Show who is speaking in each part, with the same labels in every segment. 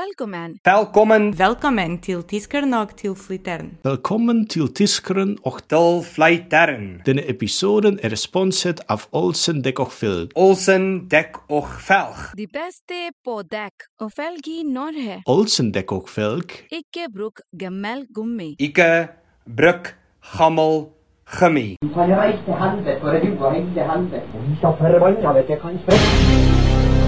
Speaker 1: Velkommen.
Speaker 2: Velkommen
Speaker 3: Velkommen til Tiskernok til Flittern.
Speaker 4: Velkommen til Tiskeren och
Speaker 2: til Flytern.
Speaker 4: denna episoden är sponset av Olsen Däck och Felg.
Speaker 2: Olsen dek och velg.
Speaker 1: De beste på dekk og felg i Norge.
Speaker 4: Olsen Däck och Felg
Speaker 1: Ikke bruk gammel gummi.
Speaker 2: Ike, bruk, gammel, gummi.
Speaker 5: kan reise til helvete, for du har reist til helvete. Vi skal forbanna, vet du, kanskje.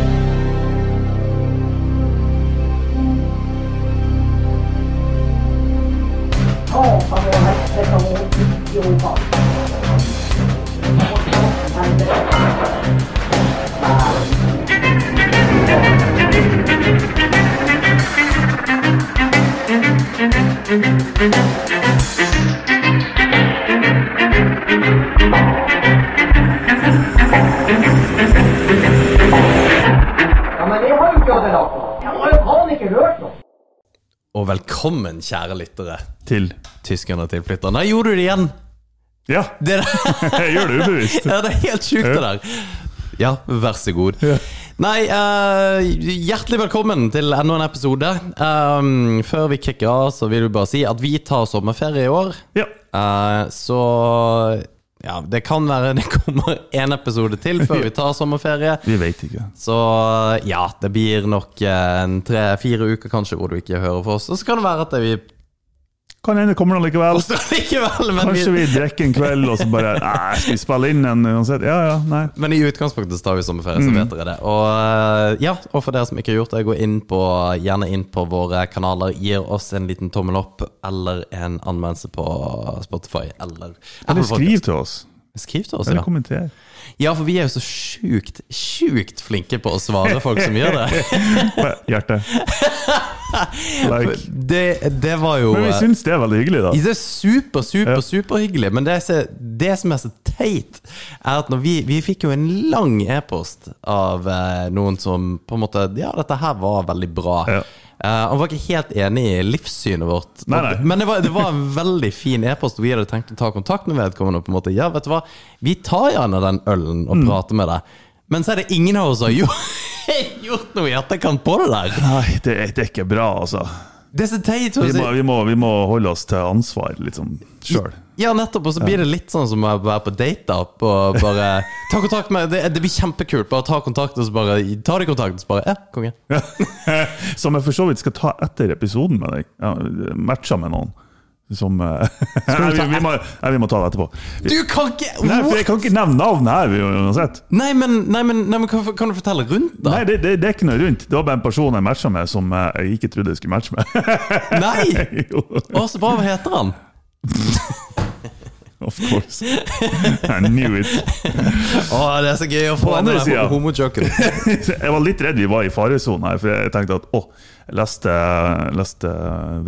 Speaker 5: Ja, men jeg har jo ikke hatt det nok. Jeg har jo faen ikke hørt noe.
Speaker 6: Og velkommen, kjære lyttere.
Speaker 7: Til
Speaker 6: Tyskerne tilflytter. Nei, gjorde du det igjen!
Speaker 7: Ja,
Speaker 6: Det der,
Speaker 7: jeg gjør det ubevisst.
Speaker 6: ja, det er helt sjukt, det der. Ja, vær så god. Nei, eh, hjertelig velkommen til enda en episode. Um, før vi kicker av, så vil vi bare si at vi tar sommerferie i år.
Speaker 7: Ja.
Speaker 6: Eh, så ja, det kan være det kommer en episode til før vi tar sommerferie.
Speaker 7: Vi vet ikke.
Speaker 6: Så ja, det blir nok eh, en tre-fire uker kanskje hvor du ikke hører fra oss. Og så kan det være at vi
Speaker 7: Kan hende kommer det likevel.
Speaker 6: påstår likevel, men
Speaker 7: Kanskje vi drikker en kveld og så bare Nei, skal vi spille inn en uansett? Ja, ja, nei.
Speaker 6: Men i utgangspunktet så tar vi sommerferie,
Speaker 7: Mm.
Speaker 6: så vet dere det. Og, eh, ja, og for dere som ikke har gjort det, gå inn på, gjerne inn på våre kanaler. Gir oss en liten tommel opp eller en anmeldelse på Spotify eller
Speaker 7: Eller
Speaker 6: Apple Podcast.
Speaker 7: skriv til oss.
Speaker 6: Skriv til oss, ja.
Speaker 7: Eller kommenter.
Speaker 6: Ja, for vi er jo så sjukt, sjukt flinke på å svare folk som gjør det.
Speaker 7: Bare Hjerte. Like.
Speaker 6: Det, det var jo eh,
Speaker 7: Men vi syns det er veldig hyggelig, da.
Speaker 6: Det er super, super, superhyggelig, men det, som- det som er så teit, er at når vi, vi fikk jo en lang e-post av eh, noen som på en måte Ja, dette her var veldig bra.
Speaker 7: Ja.
Speaker 6: Eh, han var ikke helt enig i livssynet vårt,
Speaker 7: Nei, nei.
Speaker 6: men det var, det var en veldig fin e-post. og Vi hadde tenkt å ta kontakt med vedkommende. og på en måte Ja, vet du hva, vi tar gjerne den ølen
Speaker 7: Mm.
Speaker 6: og prater med deg, men så er det ingen av oss som har gjort, gjort noe i etterkant på det der.
Speaker 7: Nei, det, er- det er ikke bra, altså.
Speaker 6: Det er så teit.
Speaker 7: Vi
Speaker 6: altså.
Speaker 7: må, vi må, vi må holde oss til ansvar, liksom, sjøl.
Speaker 6: Ja, nettopp. Og så blir det litt sånn som å være på date. da Og bare ta kontakt med Det, det blir kjempekult. Bare ta kontakt, og så bare Ta de kontakt, og så bare Ja, konge.
Speaker 7: Som jeg for så vidt skal ta etter episoden med deg. Ja, matcha med noen. Som eh, nei, vi, vi, må, nei, vi må ta det etterpå.
Speaker 6: Du kan ikke
Speaker 7: Nei, for jeg kan ikke nevne navn her vi- uansett.
Speaker 6: Nei, men, nei, men, nei, men kan, kan du fortelle rundt, da?
Speaker 7: Nei, det, det, det er ikke noe rundt. Det var bare en person jeg matcha med, som eh, jeg ikke trodde jeg skulle matche med.
Speaker 6: Nei!
Speaker 7: jo,
Speaker 6: Å, så bra. Hva heter han?
Speaker 7: of course. I knew it.
Speaker 6: Å, det er så gøy å få
Speaker 7: På
Speaker 6: den
Speaker 7: andre
Speaker 6: der
Speaker 7: siden.
Speaker 6: homojoken.
Speaker 7: Jeg var litt redd vi var i faresonen her, for jeg tenkte at å, jeg leste, leste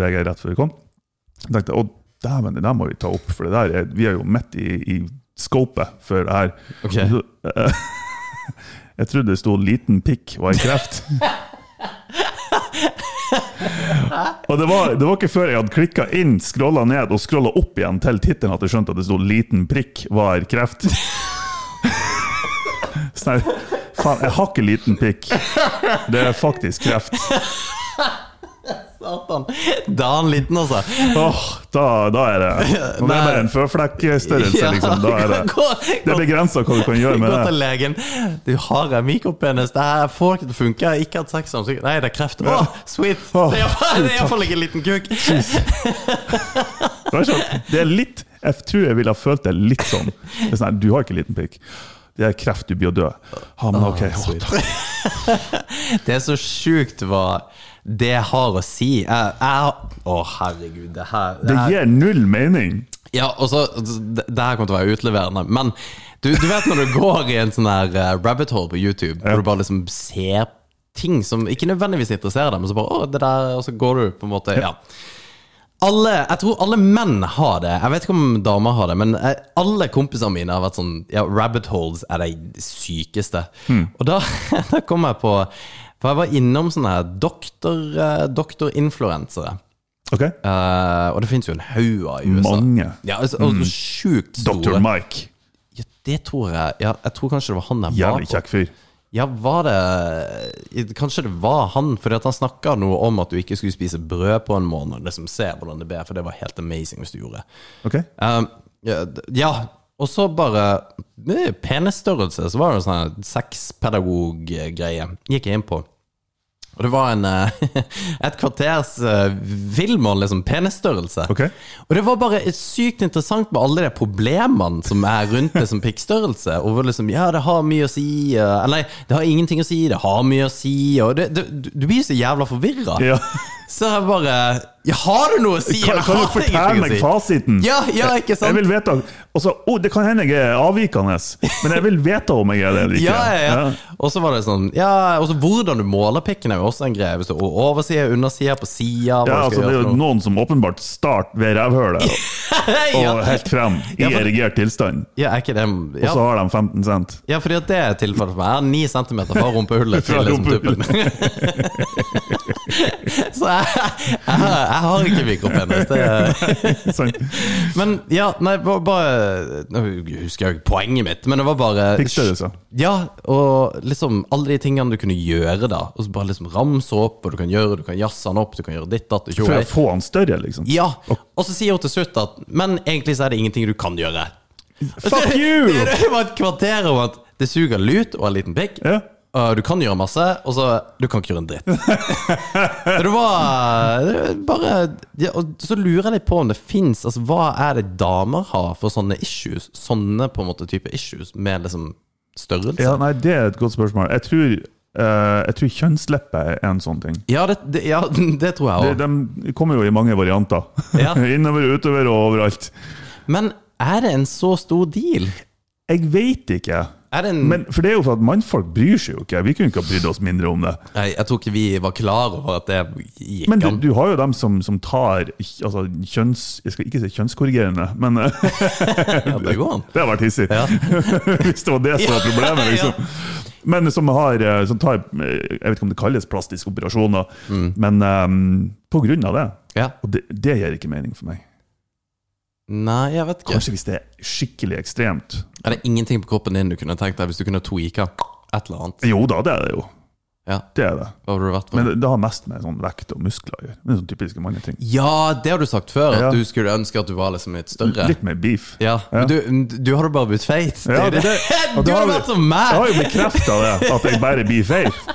Speaker 7: VG rett før vi kom. Jeg tenkte å, dæven, det der må vi ta opp, for det der er, vi er jo midt i, i scopet for det her.
Speaker 6: Ok.
Speaker 7: Så, eh, jeg trodde det sto 'liten pikk var en kreft'. og det var, det var ikke før jeg hadde klikka inn, scrolla ned og scrolla opp igjen til tittelen at jeg skjønte at det sto 'liten prikk var kreft'. Sånn her, faen, jeg har ikke liten pikk. Det er faktisk kreft.
Speaker 6: Satan. Da er han liten, altså.
Speaker 7: Åh, da, da er det Når det er bare en føflekkstørrelse, liksom, da er det
Speaker 6: gå,
Speaker 7: Det er begrensa hva du kan gjøre med
Speaker 6: Gå til
Speaker 7: det.
Speaker 6: legen. Du har en mikropenis. Det her får ikke til å funke. Jeg har ikke hatt sex samtidig. Nei, det er kreft. Å, sweet!
Speaker 7: Å,
Speaker 6: Det er iallfall- det er iallfall ikke en liten kuk.
Speaker 7: Det er, sånn, det er litt Jeg tror jeg ville ha følt det litt sånn. Det er sånn her, du har ikke liten pikk. Det er kreft, du blir å dø. Ja, men ok. Å, takk.
Speaker 6: Det er så sjukt hva det har å si. Jeg, jeg, å, herregud. Det her
Speaker 7: Det
Speaker 6: her-
Speaker 7: gir null mening.
Speaker 6: Ja, og så altså, Det det her kommer til å være utleverende, men du, du vet når du går i en sånn her eh, rabbit hole på YouTube, hvor du bare liksom ser ting som ikke nødvendigvis interesserer deg, men så bare Å, det der Og så går du på en måte Ja. Alle, jeg tror alle menn har det. Jeg vet ikke om damer har det, men eh, alle kompisene mine har vært sånn Ja, rabbit holes er de sykeste. Og da, da kom jeg på For jeg var innom sånne her doktor, eh, doktorinfluensere.
Speaker 7: Ok?
Speaker 6: Eh, og det finnes jo en haug av i USA.
Speaker 7: Mange. Mm.
Speaker 6: Ja, altså, altså, Sjukt store.
Speaker 7: Dr. Mike.
Speaker 6: Ja, det tror jeg. Ja, jeg tror kanskje det var han jeg var
Speaker 7: Jævlig
Speaker 6: på.
Speaker 7: kjekk fyr.
Speaker 6: Ja, var det Kanskje det var han, fordi at han snakka noe om at du ikke skulle spise brød på en måned. Liksom se hvordan det ble, for det var helt amazing hvis du gjorde det.
Speaker 7: Ok?
Speaker 6: Um, ja, d- ja, og så bare eh, penisstørrelse, så var det en sånn her sexpedagog-greie. Gikk jeg inn på. Og det var en, eh, et kvarters uh, villmål, liksom, penisstørrelse.
Speaker 7: Ok.
Speaker 6: Og det var bare et sykt interessant med alle de problemene som er rundt liksom, pikkstørrelse. Og hvor liksom, ja, det har mye å si, eh, eller nei, det har ingenting å si, det har mye å si, og det, det, du- du blir så jævla forvirra.
Speaker 7: Ja.
Speaker 6: Så jeg bare ja, Har du noe å si?
Speaker 7: Kan,
Speaker 6: eller
Speaker 7: kan du
Speaker 6: har det
Speaker 7: fortelle
Speaker 6: ingenting å
Speaker 7: meg
Speaker 6: si?
Speaker 7: fasiten?
Speaker 6: Ja, ja, ikke sant?
Speaker 7: Mm. Jeg vil vite Og så, oh, Det kan hende jeg er avvikende, men jeg vil vite om jeg er det eller ikke.
Speaker 6: Ja, ja, ja. Og så var det sånn Ja, og så hvordan du måler pikken er jo også en greie. Hvis du oversider, undersider, på sida
Speaker 7: Ja, altså, det er jo noen som åpenbart starter ved rævhølet og
Speaker 6: ja.
Speaker 7: helt frem i
Speaker 6: Ja, for-
Speaker 7: erigert tilstand,
Speaker 6: ja, er ikke det
Speaker 7: og så
Speaker 6: ja.
Speaker 7: har de 15 cent.
Speaker 6: ja, fordi at det er tilfellet for meg. Jeg er ni centimeter fra rumpehullet til
Speaker 7: Fra
Speaker 6: liksom tuppen. så jeg, jeg, jeg har ikke mikropenis. Det er
Speaker 7: Sånn.
Speaker 6: Men ja, nei, ba- bare Nå husker jeg jo ikke poenget mitt, men det var bare
Speaker 7: Pikkstørrelse.
Speaker 6: Ja, og liksom alle de tingene du kunne gjøre, da. Og så bare liksom ramse opp, og du kan gjøre, du kan jazze han opp, du kan gjøre ditt, datt og tjo.
Speaker 7: For å få han større, liksom.
Speaker 6: Ja, og så sier hun til slutt at Men egentlig så er det ingenting du kan gjøre.
Speaker 7: Fuck you!
Speaker 6: Det var et kvarter om at det suger lut og en liten pikk.
Speaker 7: Ja.
Speaker 6: og Du kan gjøre masse, og så Du kan ikke gjøre en dritt. Så det var det var bare ja, og Så lurer jeg litt på om det fins altså, Hva er det damer har for sånne issues? Sånne på en måte type issues med liksom størrelse?
Speaker 7: Ja, nei, det er et godt spørsmål. Jeg tror, uh, jeg tror kjønnsleppe er en sånn ting.
Speaker 6: Ja, det, det, ja, det tror
Speaker 7: De,
Speaker 6: jeg òg.
Speaker 7: de kommer jo i mange varianter.
Speaker 6: Ja.
Speaker 7: Innover, utover og overalt.
Speaker 6: Men er det en så stor deal?
Speaker 7: Jeg veit ikke.
Speaker 6: Er det en,
Speaker 7: Men, for det er jo for at mannfolk bryr seg jo ikke. Vi kunne ikke ha brydd oss mindre om det.
Speaker 6: Nei, jeg tror ikke vi var klar over at det gikk
Speaker 7: Men du,
Speaker 6: an.
Speaker 7: du har jo dem som, som tar altså, kjønns... Jeg skal ikke si kjønnskorrigerende, men eh,
Speaker 6: Ja, det går an.
Speaker 7: det har vært hissig.
Speaker 6: Ja.
Speaker 7: Hvis det var det som var problemet, liksom. Men som, har, eh, som tar eh, Jeg vet ikke om det kalles plastiske operasjoner,
Speaker 6: Mm.
Speaker 7: men eh, på grunn av det.
Speaker 6: Ja.
Speaker 7: Og det, det gir ikke mening for meg.
Speaker 6: Nei, jeg vet ikke.
Speaker 7: Kanskje hvis det er skikkelig ekstremt.
Speaker 6: Er det ingenting på kroppen din du kunne tenkt deg hvis du kunne tweaka et eller annet?
Speaker 7: Jo da, det er det jo.
Speaker 6: Ja,
Speaker 7: Det er det.
Speaker 6: hva hadde du vært
Speaker 7: Men
Speaker 6: for?
Speaker 7: det, det har mest med sånn vekt og muskler å gjøre. Det er sånn typiske manneting.
Speaker 6: Ja, det har du sagt før, at
Speaker 7: Ja.
Speaker 6: du skulle ønske at du var liksom litt større.
Speaker 7: Litt mer beef.
Speaker 6: Ja, men du, du hadde bare blitt feit. Det
Speaker 7: Ja,
Speaker 6: er
Speaker 7: det-
Speaker 6: det.
Speaker 7: det- og
Speaker 6: Du
Speaker 7: da har
Speaker 6: hadde
Speaker 7: vi-
Speaker 6: vært som
Speaker 7: Jeg har
Speaker 6: meg!
Speaker 7: jo bekrefta det, at jeg bare blir feit.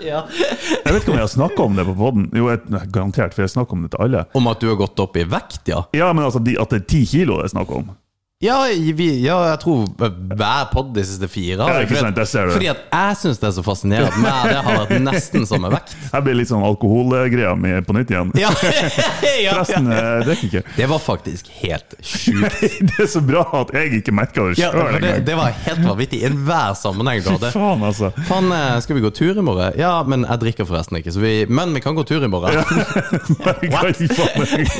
Speaker 6: Ja.
Speaker 7: Jeg vet ikke om jeg har snakka om det på poden. Jo, jeg, nei, garantert, for jeg snakker om det til alle.
Speaker 6: Om at du har gått opp i vekt, ja.
Speaker 7: Ja, men altså de, at det er ti kilo det er snakk om.
Speaker 6: Ja, vi, ja jeg tror hver podd de siste fire. har
Speaker 7: Ja,
Speaker 6: det,
Speaker 7: ikke
Speaker 6: fordi
Speaker 7: sant,
Speaker 6: at-
Speaker 7: jeg ser det.
Speaker 6: Fordi at jeg syns det er så fascinerende at meg, det har vært nesten samme vekt.
Speaker 7: Her blir litt sånn alkoholgreia mi på nytt igjen.
Speaker 6: Ja, ja, ja.
Speaker 7: Forresten, eh. jeg drikker ikke.
Speaker 6: Det var faktisk helt sjukt.
Speaker 7: Det er så bra at jeg ikke merka det
Speaker 6: Ja,
Speaker 7: sjøl
Speaker 6: for det,
Speaker 7: engang.
Speaker 6: det var helt vanvittig i enhver sammenheng. Du hadde.
Speaker 7: Faen, altså.
Speaker 6: Faen, eh, skal vi gå tur i morgen? Ja, men jeg drikker forresten ikke, så vi, men vi kan gå tur i morgen.
Speaker 7: Nei, hva i faen er det?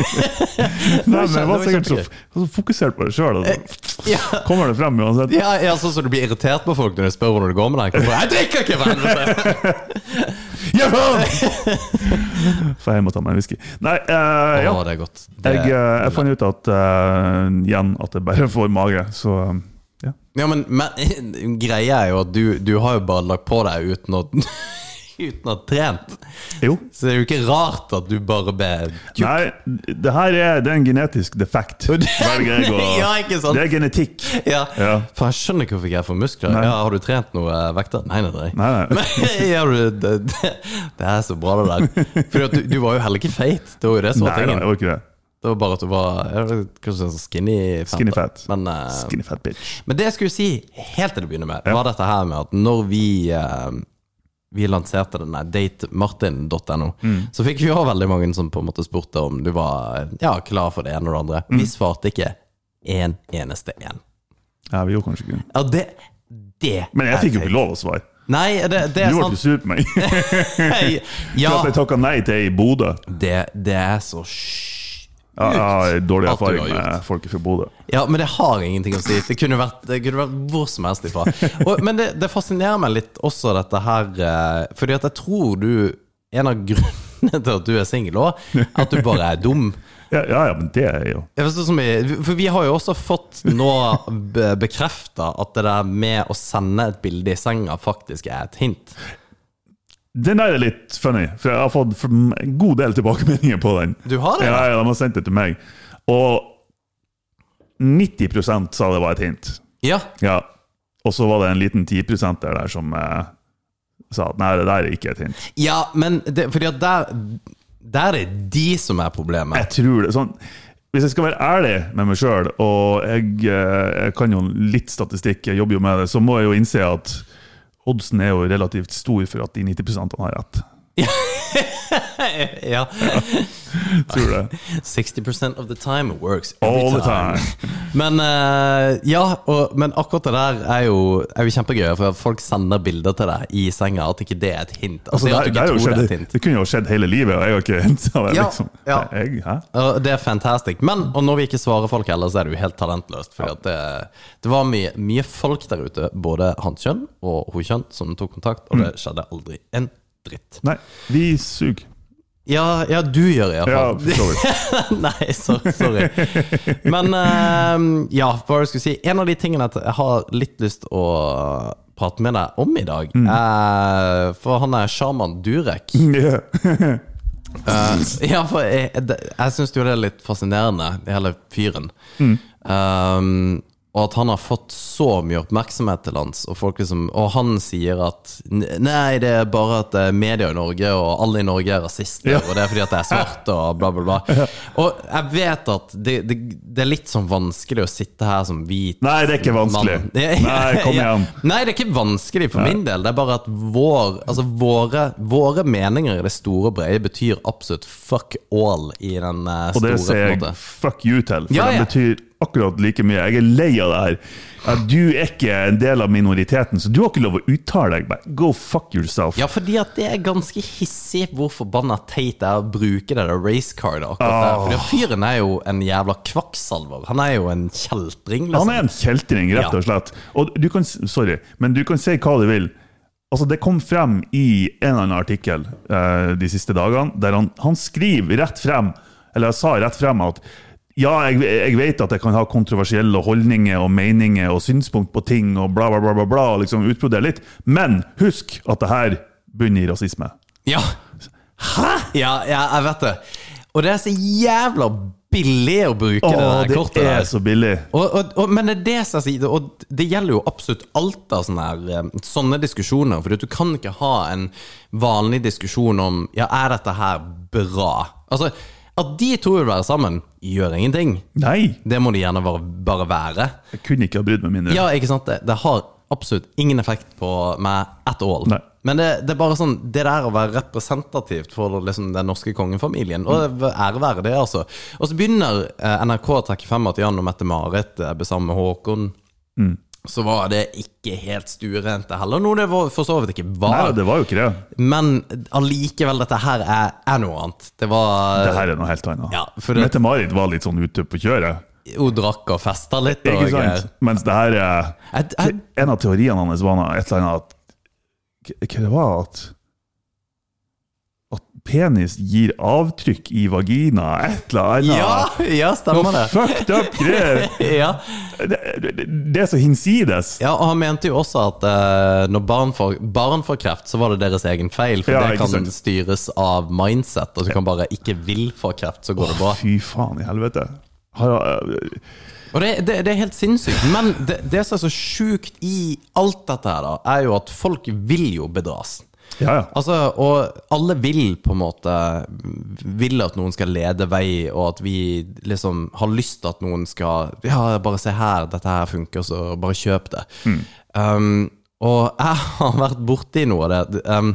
Speaker 7: Nei, men jeg var sikkert så, så fokusert på det sjøl.
Speaker 6: Eh, Ja,
Speaker 7: Kommer det frem uansett?
Speaker 6: ja, ja sånn som du blir irritert på folk når de spør hvordan det går med deg. Hvorfor? Jeg drikker ikke, for helvete!
Speaker 7: Ja! Får jeg hjem og ta meg en whisky. Nei, eh, ja.
Speaker 6: Å, det er godt. Det,
Speaker 7: Jeg, eh, jeg fant ut at eh, igjen at jeg bare får mage, så eh, ja.
Speaker 6: ja, men, men greia er jo at du, du har jo bare lagt på deg uten å Uten å ha trent.
Speaker 7: Jo.
Speaker 6: Så det er jo ikke rart at du bare ble tjukk.
Speaker 7: Nei, det her er, det er en genetisk defekt. Velger jeg å
Speaker 6: Ja, ikke sant?
Speaker 7: Det er genetikk.
Speaker 6: Ja.
Speaker 7: Ja.
Speaker 6: For jeg skjønner ikke hvorfor ikke jeg får muskler.
Speaker 7: Nei.
Speaker 6: Ja, har du trent noe eh, vekter? Nei, nei, nei.
Speaker 7: Nei, nei.
Speaker 6: Men, ja, du, det, det, det er så bra, det der. For at du, du var jo heller ikke feit. Det var jo det som
Speaker 7: Nei,
Speaker 6: var
Speaker 7: da,
Speaker 6: tingen.
Speaker 7: jeg var ikke det.
Speaker 6: Det var bare at du var ja, kanskje sånn skinny fat.
Speaker 7: Skinny
Speaker 6: da.
Speaker 7: fat.
Speaker 6: Men, eh,
Speaker 7: Skinny fat bitch.
Speaker 6: men det jeg skulle si helt til å begynne med, var dette her med at når vi eh, vi lanserte denne datemartin.no.
Speaker 7: Mm.
Speaker 6: Så fikk vi òg veldig mange som på en måte spurte om du var ja, klar for det ene og det andre.
Speaker 7: Mm.
Speaker 6: Vi svarte ikke en eneste en.
Speaker 7: Ja, vi gjorde kanskje ikke det.
Speaker 6: Ja, det, det
Speaker 7: Men jeg
Speaker 6: er
Speaker 7: fikk jo
Speaker 6: feit.
Speaker 7: ikke lov å svare.
Speaker 6: Nei, det, det er
Speaker 7: Du ble
Speaker 6: sant.
Speaker 7: sur på meg for
Speaker 6: Hei, ja,
Speaker 7: at jeg takka nei til ei i Bodø.
Speaker 6: det, det er så sj...
Speaker 7: Ja, jeg har dårlig
Speaker 6: At du
Speaker 7: erfaring
Speaker 6: har gjort.
Speaker 7: med folk fra Bodø.
Speaker 6: Ja, men det har ingenting å si. Det kunne vært, det kunne vært hvor som helst ifra. Og, men det, det fascinerer meg litt også dette her, eh, fordi at jeg tror du En av grunnene til at du er singel òg, at du bare er dum.
Speaker 7: Ja, ja, ja, men det er jo
Speaker 6: Jeg forstår som i- For vi har jo også fått nå be bekrefta at det der med å sende et bilde i senga faktisk er et hint.
Speaker 7: Den der er litt funny, for jeg har fått for- en god del tilbakemeldinger på den.
Speaker 6: Du har det?
Speaker 7: Ja, ja, de har sendt det til meg. Og 90 sa det var et hint.
Speaker 6: Ja.
Speaker 7: Ja. Og så var det en liten 10 der, der som eh, sa at nei, det der er ikke et hint.
Speaker 6: ja men det, fordi at der Der er de som er problemet.
Speaker 7: Jeg tror det sånn Hvis jeg skal være ærlig med meg sjøl, og jeg, eh, jeg kan jo litt statistikk, jeg jobber jo med det, så må jeg jo innse at oddsen er jo relativt stor for at de 90 har rett.
Speaker 6: Ja.
Speaker 7: Tror det.
Speaker 6: 60 of the time it works. every
Speaker 7: All the time.
Speaker 6: Men eh, ja, og, men akkurat det der er jo, er jo kjempegøy, for at folk sender bilder til deg i senga. At ikke det er et hint.
Speaker 7: Altså,
Speaker 6: Altså,
Speaker 7: det,
Speaker 6: at du
Speaker 7: det, er
Speaker 6: ikke
Speaker 7: jo
Speaker 6: tror det er
Speaker 7: skjedd,
Speaker 6: et
Speaker 7: det,
Speaker 6: hint.
Speaker 7: kunne jo skjedd hele livet, og jeg har ikke hensa det.
Speaker 6: Ja,
Speaker 7: liksom.
Speaker 6: ja.
Speaker 7: Jeg, hæ?
Speaker 6: Og det er fantastisk. Men og når vi ikke svarer folk heller, så er det jo helt talentløst. For det, det var mye, mye folk der ute, både hans kjønn og hun kjønn, som tok kontakt, og
Speaker 7: Mm.
Speaker 6: det skjedde aldri en dritt.
Speaker 7: Nei, vi suger.
Speaker 6: Ja, ja du gjør det
Speaker 7: Ja,
Speaker 6: iallfall.
Speaker 7: for så vidt.
Speaker 6: Nei, sorry. sorry. Men eh, ja, hva var det jeg skulle si? En av de tingene at jeg har litt lyst å prate med deg om i dag, eh, for han er sjaman Durek.
Speaker 7: Ja.
Speaker 6: Eh, ja, for jeg, det- jeg syns jo det er litt fascinerende, det hele fyren. Um, og at han har fått så mye oppmerksomhet til lands, og, folk liksom, og han sier at "N- Nei, det er bare at det er media i Norge, og alle i Norge er rasister, og det er fordi at jeg er svart, og bla, bla, bla. Og jeg vet at det, det, det er litt sånn vanskelig å sitte her som hvit
Speaker 7: Nei, det er ikke vanskelig.
Speaker 6: mann.
Speaker 7: Nei, kom igjen.
Speaker 6: Nei, det er ikke vanskelig for min del. Det er bare at vår, altså våre, våre meninger i det store og brede betyr absolutt fuck all i den eh,
Speaker 7: Og
Speaker 6: store
Speaker 7: det sier
Speaker 6: på en
Speaker 7: jeg
Speaker 6: måte.
Speaker 7: fuck you til, for
Speaker 6: Ja, ja.
Speaker 7: det betyr akkurat like mye. Jeg er lei av det her. Ja, du er ikke en del av minoriteten, så du har ikke lov å uttale deg. Bare Go fuck yourself.
Speaker 6: Ja, fordi at det er ganske hissig hvor forbanna teit det er å bruke det der racecardet akkurat
Speaker 7: Ah.
Speaker 6: der. Fordi at fyren er jo en jævla kvakksalver. Han er jo en kjeltring, liksom.
Speaker 7: Han er en kjeltring, rett og slett. Og du kan, sorry, men du kan si hva du vil. Altså, det kom frem i en eller annen artikkel eh, de siste dagene, der han, han skriver rett frem, eller sa rett frem at ja, jeg, jeg vet at jeg kan ha kontroversielle holdninger og meninger og synspunkt på ting og bla, bla, bla, bla, bla og liksom utbrodere litt, men husk at det her bunner i rasisme.
Speaker 6: Ja. Hæ?! Ja, ja, jeg vet det. Og det er så jævla billig å bruke
Speaker 7: Å,
Speaker 6: det der
Speaker 7: det
Speaker 6: kortet.
Speaker 7: er
Speaker 6: der.
Speaker 7: så billig.
Speaker 6: Og, og, og, men det er det som jeg sier, og det gjelder jo absolutt alt av sånne, her, eh, sånne diskusjoner. For du kan ikke ha en vanlig diskusjon om Ja, er dette her bra? Altså, At de to vil være sammen, gjør ingenting.
Speaker 7: Nei,
Speaker 6: Det må de gjerne bare, bare være.
Speaker 7: jeg kunne ikke ha brydd meg mindre.
Speaker 6: Ja, ikke sant? Det, det har absolutt ingen effekt på meg at all.
Speaker 7: Nei.
Speaker 6: Men det, det er bare sånn Det der å være representativt for liksom, den norske kongefamilien,
Speaker 7: Mm.
Speaker 6: og ære være det, altså. Og så begynner eh, NRK å trekke frem at Jan og Mette-Marit eh, ble sammen med Håkon.
Speaker 7: Mm.
Speaker 6: Så var det ikke helt stuerent, det heller. Noe det var, for så vidt ikke
Speaker 7: Nei,
Speaker 6: var.
Speaker 7: det var jo ikke det.
Speaker 6: Men allikevel, dette her er, er noe annet. Det var
Speaker 7: Det her er noe helt annet.
Speaker 6: Eh, Ja, for det-
Speaker 7: Mette-Marit var litt sånn ute på kjøret.
Speaker 6: Hun drakk og festa litt. Og,
Speaker 7: Ikke sant? Mens det her er
Speaker 6: Jeg, jeg,
Speaker 7: En av teoriene hans var noe- et eller annet at Hva hva det var at At penis gir avtrykk i vagina, et eller annet.
Speaker 6: ja, ja,
Speaker 7: Noe
Speaker 6: stemmer det.
Speaker 7: fucked up greier!
Speaker 6: Ja.
Speaker 7: Det, det, det er så hinsides.
Speaker 6: Ja, og han mente jo også at eh, når barn får, barn får kreft, så var det deres egen feil, for
Speaker 7: Ja,
Speaker 6: det
Speaker 7: ikke
Speaker 6: kan
Speaker 7: sant.
Speaker 6: styres av mindset. Og du kan bare ikke vil få kreft, så går det bra.
Speaker 7: Fy faen i helvete. Har jeg- eh,
Speaker 6: Og det, det, det er helt sinnssykt. Men det, det som er så sjukt i alt dette her, da, er jo at folk vil jo bedras.
Speaker 7: Ja, ja.
Speaker 6: Altså, og alle vil på en måte Vil at noen skal lede vei, og at vi liksom har lyst til at noen skal Ja, bare se her, dette her funker, så bare kjøp det. Um, og jeg har vært borti noe av det. Um,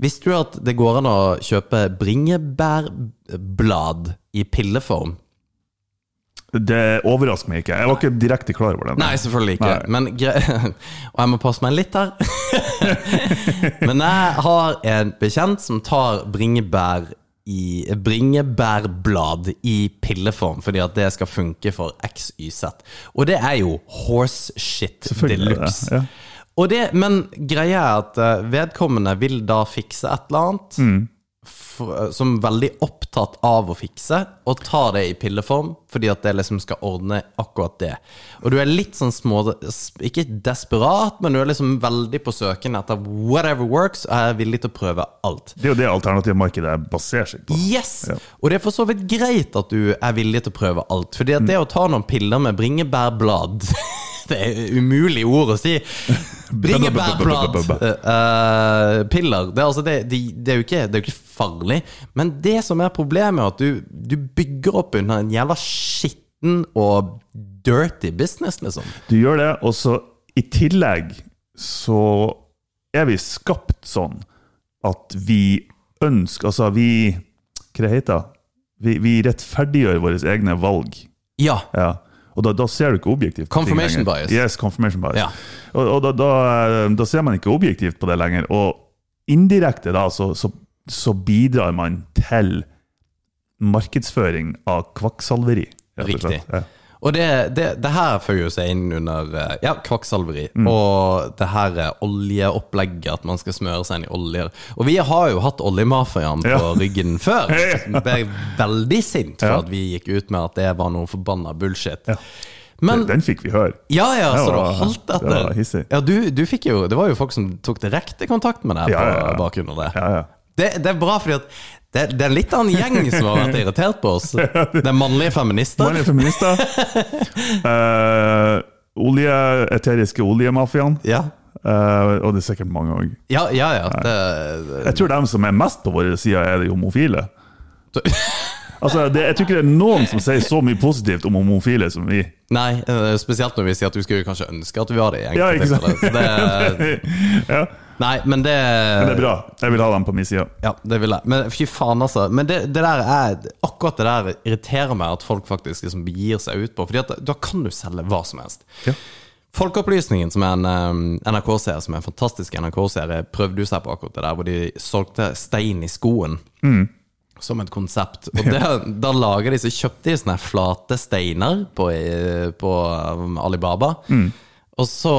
Speaker 6: visste du at det går an å kjøpe bringebærblad i pilleform?
Speaker 7: Det overrasker meg ikke. Jeg var ikke direkte klar over det.
Speaker 6: Altså- Nei, selvfølgelig ikke.
Speaker 7: Nei.
Speaker 6: Men gre og jeg må passe meg litt her. Men jeg har en bekjent som tar bringebær i, bringebærblad i pilleform, fordi at det skal funke for XYZ. Og det er jo horseshit de
Speaker 7: Selvfølgelig er det
Speaker 6: luxe.
Speaker 7: det, ja. Mm.
Speaker 6: Og det, men greia er at eh, vedkommende vil da fikse et eller annet. for, som er veldig opptatt av å fikse, og tar det i pilleform fordi at det liksom skal ordne akkurat det. Og du er litt sånn små Ikke desperat, men du er liksom veldig på søken etter whatever works, og er villig til å prøve alt.
Speaker 7: Det er jo det alternative markedet baserer seg på.
Speaker 6: Yes!
Speaker 7: Ja.
Speaker 6: Og det er for så vidt greit at du er villig til å prøve alt. Fordi at det å ta noen piller med bringebærblad Det er umulig ord å si. Bringebærblad-piller. Det, er altså det, de- det, er jo ikke- det er jo ikke farlig. Men det som er problemet, er at du, du bygger opp under en jævla skitten og dirty business, liksom.
Speaker 7: Du gjør det, og så i tillegg så er vi skapt sånn at vi ønsker Altså, vi Hva det heter det? Vi, vi rettferdiggjør våre egne valg.
Speaker 6: Ja.
Speaker 7: Ja. Og da, da ser du ikke objektivt. på ting
Speaker 6: Confirmation
Speaker 7: lenger.
Speaker 6: bias.
Speaker 7: Yes, confirmation bias.
Speaker 6: Ja.
Speaker 7: Og, og da, da, da ser man ikke objektivt på det lenger. Og indirekte da, så, så, så bidrar man til markedsføring av kvakksalveri. rett og
Speaker 6: Riktig.
Speaker 7: slett. Ja.
Speaker 6: Og det, det, det her føyer jo seg inn under eh, ja, kvakksalveri
Speaker 7: Mm.
Speaker 6: og det her eh, oljeopplegget, at man skal smøre seg inn i oljer. Og vi har jo hatt oljemafiaen på
Speaker 7: Ja.
Speaker 6: ryggen før.
Speaker 7: Ja.
Speaker 6: Ble veldig sint for
Speaker 7: Ja.
Speaker 6: at vi gikk ut med at det var noe forbanna bullshit.
Speaker 7: Ja.
Speaker 6: Men
Speaker 7: Den fikk vi høre.
Speaker 6: ja, ja,
Speaker 7: Det
Speaker 6: så det
Speaker 7: var-
Speaker 6: holdt
Speaker 7: det
Speaker 6: etter.
Speaker 7: var hissig.
Speaker 6: Ja, du, du fikk jo, det var jo folk som tok direkte kontakt med deg
Speaker 7: Ja, ja, ja.
Speaker 6: på bakgrunn av det.
Speaker 7: Ja, ja.
Speaker 6: Det, det er bra, fordi at det, det er litt av en gjeng som har vært irritert på oss. Det er mannlige feminister.
Speaker 7: Mannlige feminister. Eh, olje, eteriske oljemafiaen.
Speaker 6: Ja.
Speaker 7: Eh, og det er sikkert mange òg.
Speaker 6: Ja, ja, ja. Det,
Speaker 7: Jeg tror de som er mest på vår side, er de homofile. Altså, det, Jeg tror ikke det er noen som sier så mye positivt om homofile som vi.
Speaker 6: nei, eh, spesielt når vi sier at du skulle kanskje ønske at vi var det. i enkelte
Speaker 7: Ja, ikke sant?
Speaker 6: tilfeller. Så Det,
Speaker 7: Ja,
Speaker 6: nei, men det,
Speaker 7: men det er bra. Jeg vil ha dem på min side.
Speaker 6: Ja, det vil jeg. Men fy faen, altså. Men det, det der er, akkurat det der irriterer meg at folk faktisk liksom begir seg ut på. Fordi at da kan du selge hva som helst.
Speaker 7: Ja.
Speaker 6: Folkeopplysningen, som er en eh, NRK-serie som er en fantastisk NRK-serie, prøvde jo seg på akkurat det der, hvor de solgte stein i skoen. Som et konsept. Og det, da lager de så kjøpte de sånne flate steiner på, eh, på um, Alibaba.
Speaker 7: Mm.
Speaker 6: Og så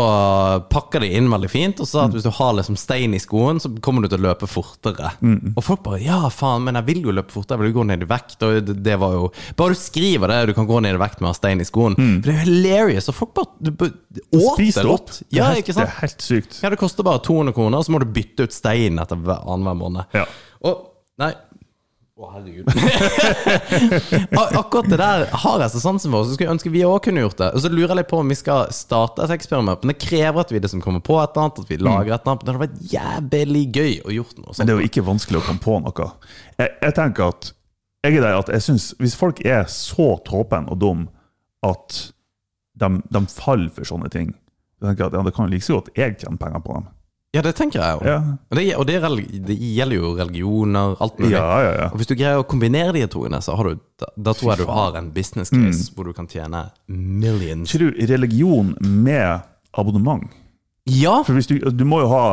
Speaker 6: pakker de inn veldig fint, og så
Speaker 7: Mm.
Speaker 6: at hvis du har liksom stein i skoen, så kommer du til å løpe fortere.
Speaker 7: Mm.
Speaker 6: Og folk bare 'ja, faen, men jeg vil jo løpe fortere, jeg vil jo gå ned i vekt'. Og det, det var jo Bare du skriver det, du kan gå ned i vekt med å ha stein i skoen. For det er jo hilarious, og folk bare, du, bare åt
Speaker 7: Mm. Spis
Speaker 6: det
Speaker 7: det opp.
Speaker 6: rått. Ja, ikke
Speaker 7: Det
Speaker 6: sant?
Speaker 7: er helt sykt.
Speaker 6: Ja, det koster bare 200 kroner, og så må du bytte ut steinen etter hver annenhver måned.
Speaker 7: Ja.
Speaker 6: Og Nei. Å, herregud. Ak- Akkurat det der har jeg så sansen for, så skulle jeg ønske vi òg kunne gjort det. Og så lurer jeg litt på om vi skal starte et eksperiment, men det krever at vi liksom kommer på et eller annet, at vi lager et eller annet. Det hadde vært jævlig gøy å gjort noe
Speaker 7: Mm. Men
Speaker 6: sånt.
Speaker 7: det er jo ikke vanskelig å komme på noe. Jeg, jeg tenker at jeg er der at jeg synes, hvis folk er så tåpen og dum at de, de faller for sånne ting Jeg tenker at ja, Det kan jo like så godt jeg tjener penger på dem.
Speaker 6: Ja, det tenker jeg jo.
Speaker 7: Ja,
Speaker 6: Og, det, og det, er relig- det gjelder jo religioner, alt mulig.
Speaker 7: ja, ja. ja.
Speaker 6: Og hvis du greier å kombinere de to, så har du, da, da tror jeg du har en business case hvor du kan tjene millions.
Speaker 7: Mm. Tror du religion med abonnement
Speaker 6: Ja!
Speaker 7: For hvis du, du må jo ha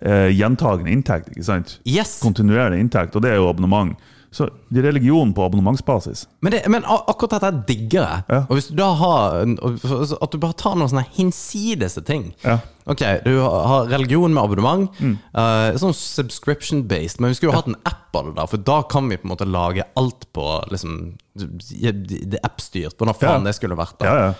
Speaker 7: eh, gjentagende inntekt, ikke sant?
Speaker 6: Yes!
Speaker 7: Kontinuerlig inntekt, og det er jo abonnement. Så religion på abonnementsbasis
Speaker 6: Men, det, men a- akkurat dette her digger jeg.
Speaker 7: Ja.
Speaker 6: Og hvis du da har en- og- altså, At du bare tar noen sånne hinsidese ting.
Speaker 7: Ja. Mm.
Speaker 6: Ok, Du har religion med abonnement. eh, sånn subscription-based. Men vi skulle jo hatt en app av det, der for da kan vi på en måte lage alt på liksom, Det er app-styrt. Hvordan faen
Speaker 7: Ja.
Speaker 6: det skulle vært. da
Speaker 7: Ja, ja.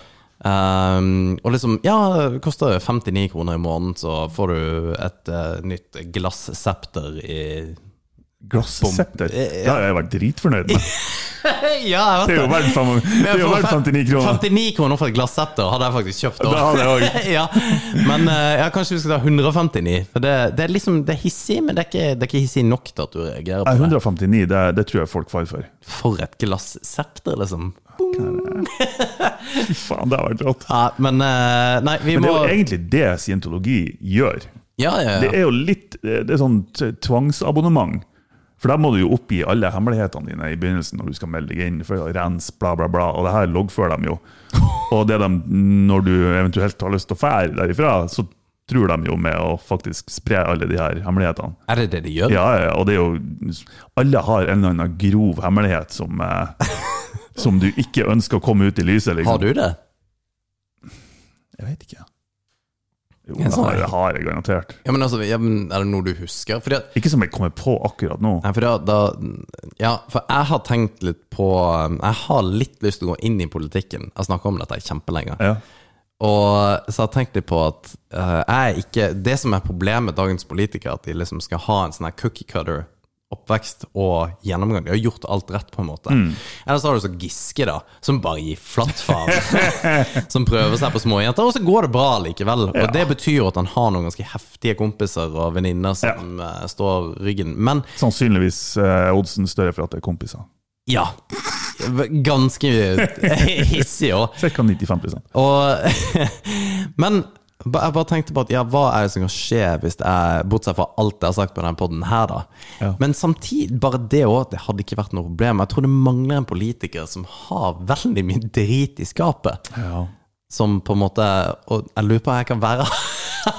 Speaker 6: Ehm, og liksom, ja, det koster 59 kroner i måneden, så får du et eh, nytt glassepter i
Speaker 7: Glassepter.
Speaker 6: Eh, Ja,
Speaker 7: Det har jeg vært dritfornøyd med.
Speaker 6: Ja, jeg vet
Speaker 7: Det er jo verdt fem- det er jo
Speaker 6: for
Speaker 7: verdt
Speaker 6: fem-
Speaker 7: 59 kroner.
Speaker 6: 59 kroner for et glassepter hadde jeg faktisk kjøpt.
Speaker 7: Det hadde jeg
Speaker 6: ja. Men eh, ja, kanskje vi skal ta 159. For det, det er liksom Det er hissig, men det er ikke, det er ikke hissig nok til at du reagerer
Speaker 7: Nei,
Speaker 6: på det.
Speaker 7: 159, det, det tror jeg folk faller for.
Speaker 6: For et glassepter, liksom.
Speaker 7: Fy faen, det har vært rått.
Speaker 6: Ja, men eh, Nei, vi
Speaker 7: Men det
Speaker 6: må
Speaker 7: er jo egentlig det scientologi gjør.
Speaker 6: Ja, ja,
Speaker 7: Det
Speaker 6: ja.
Speaker 7: er jo litt det er sånn t- tvangsabonnement. For da må du jo oppgi alle hemmelighetene dine i begynnelsen når du skal melde deg inn. for å rense, bla bla bla, Og det her loggfører de jo. Og det de, når du eventuelt har lyst til å fære derifra, så tror de jo med å faktisk spre alle de her hemmelighetene.
Speaker 6: Er det det de gjør?
Speaker 7: Ja, ja, ja, og det er jo Alle har en eller annen grov hemmelighet som, eh, som du ikke ønsker å komme ut i lyset. Liksom.
Speaker 6: Har du det?
Speaker 7: Jeg vet ikke. Jo,
Speaker 6: En
Speaker 7: det
Speaker 6: sånn
Speaker 7: har
Speaker 6: er
Speaker 7: jeg- det har jeg garantert.
Speaker 6: Ja, men altså, ja, men er det noe du husker? Fordi at
Speaker 7: Ikke som jeg kommer på akkurat nå.
Speaker 6: Nei, for da, da Ja, for jeg har tenkt litt på eh, Jeg har litt lyst til å gå inn i politikken. Jeg har snakka om dette kjempelenge.
Speaker 7: Ja.
Speaker 6: Og så har jeg tenkt litt på at eh, jeg er ikke Det som er problemet med dagens politikere, at de liksom skal ha en sånn her cookie cutter oppvekst og gjennomgang. De har gjort alt rett, på en måte. Eller så har du så Giske, da, som bare gir flatt faen. som prøver seg på småjenter, og så går det bra likevel. Og det betyr jo at han har noen ganske heftige kompiser og venninner som eh, står ryggen. Men
Speaker 7: Sannsynligvis eh, oddsen større for at det er kompiser.
Speaker 6: ja. Ganske hissig òg.
Speaker 7: Cirka 95
Speaker 6: Og Men ba- jeg bare tenkte på at ja, hva er det som kan skje hvis jeg Bortsett fra alt jeg har sagt på denne podden her, da.
Speaker 7: Ja.
Speaker 6: Men samtidig, bare det òg, det hadde ikke vært noe problem. Jeg tror det mangler en politiker som har veldig mye drit i skapet. Som på en måte Og jeg lurer på om jeg kan være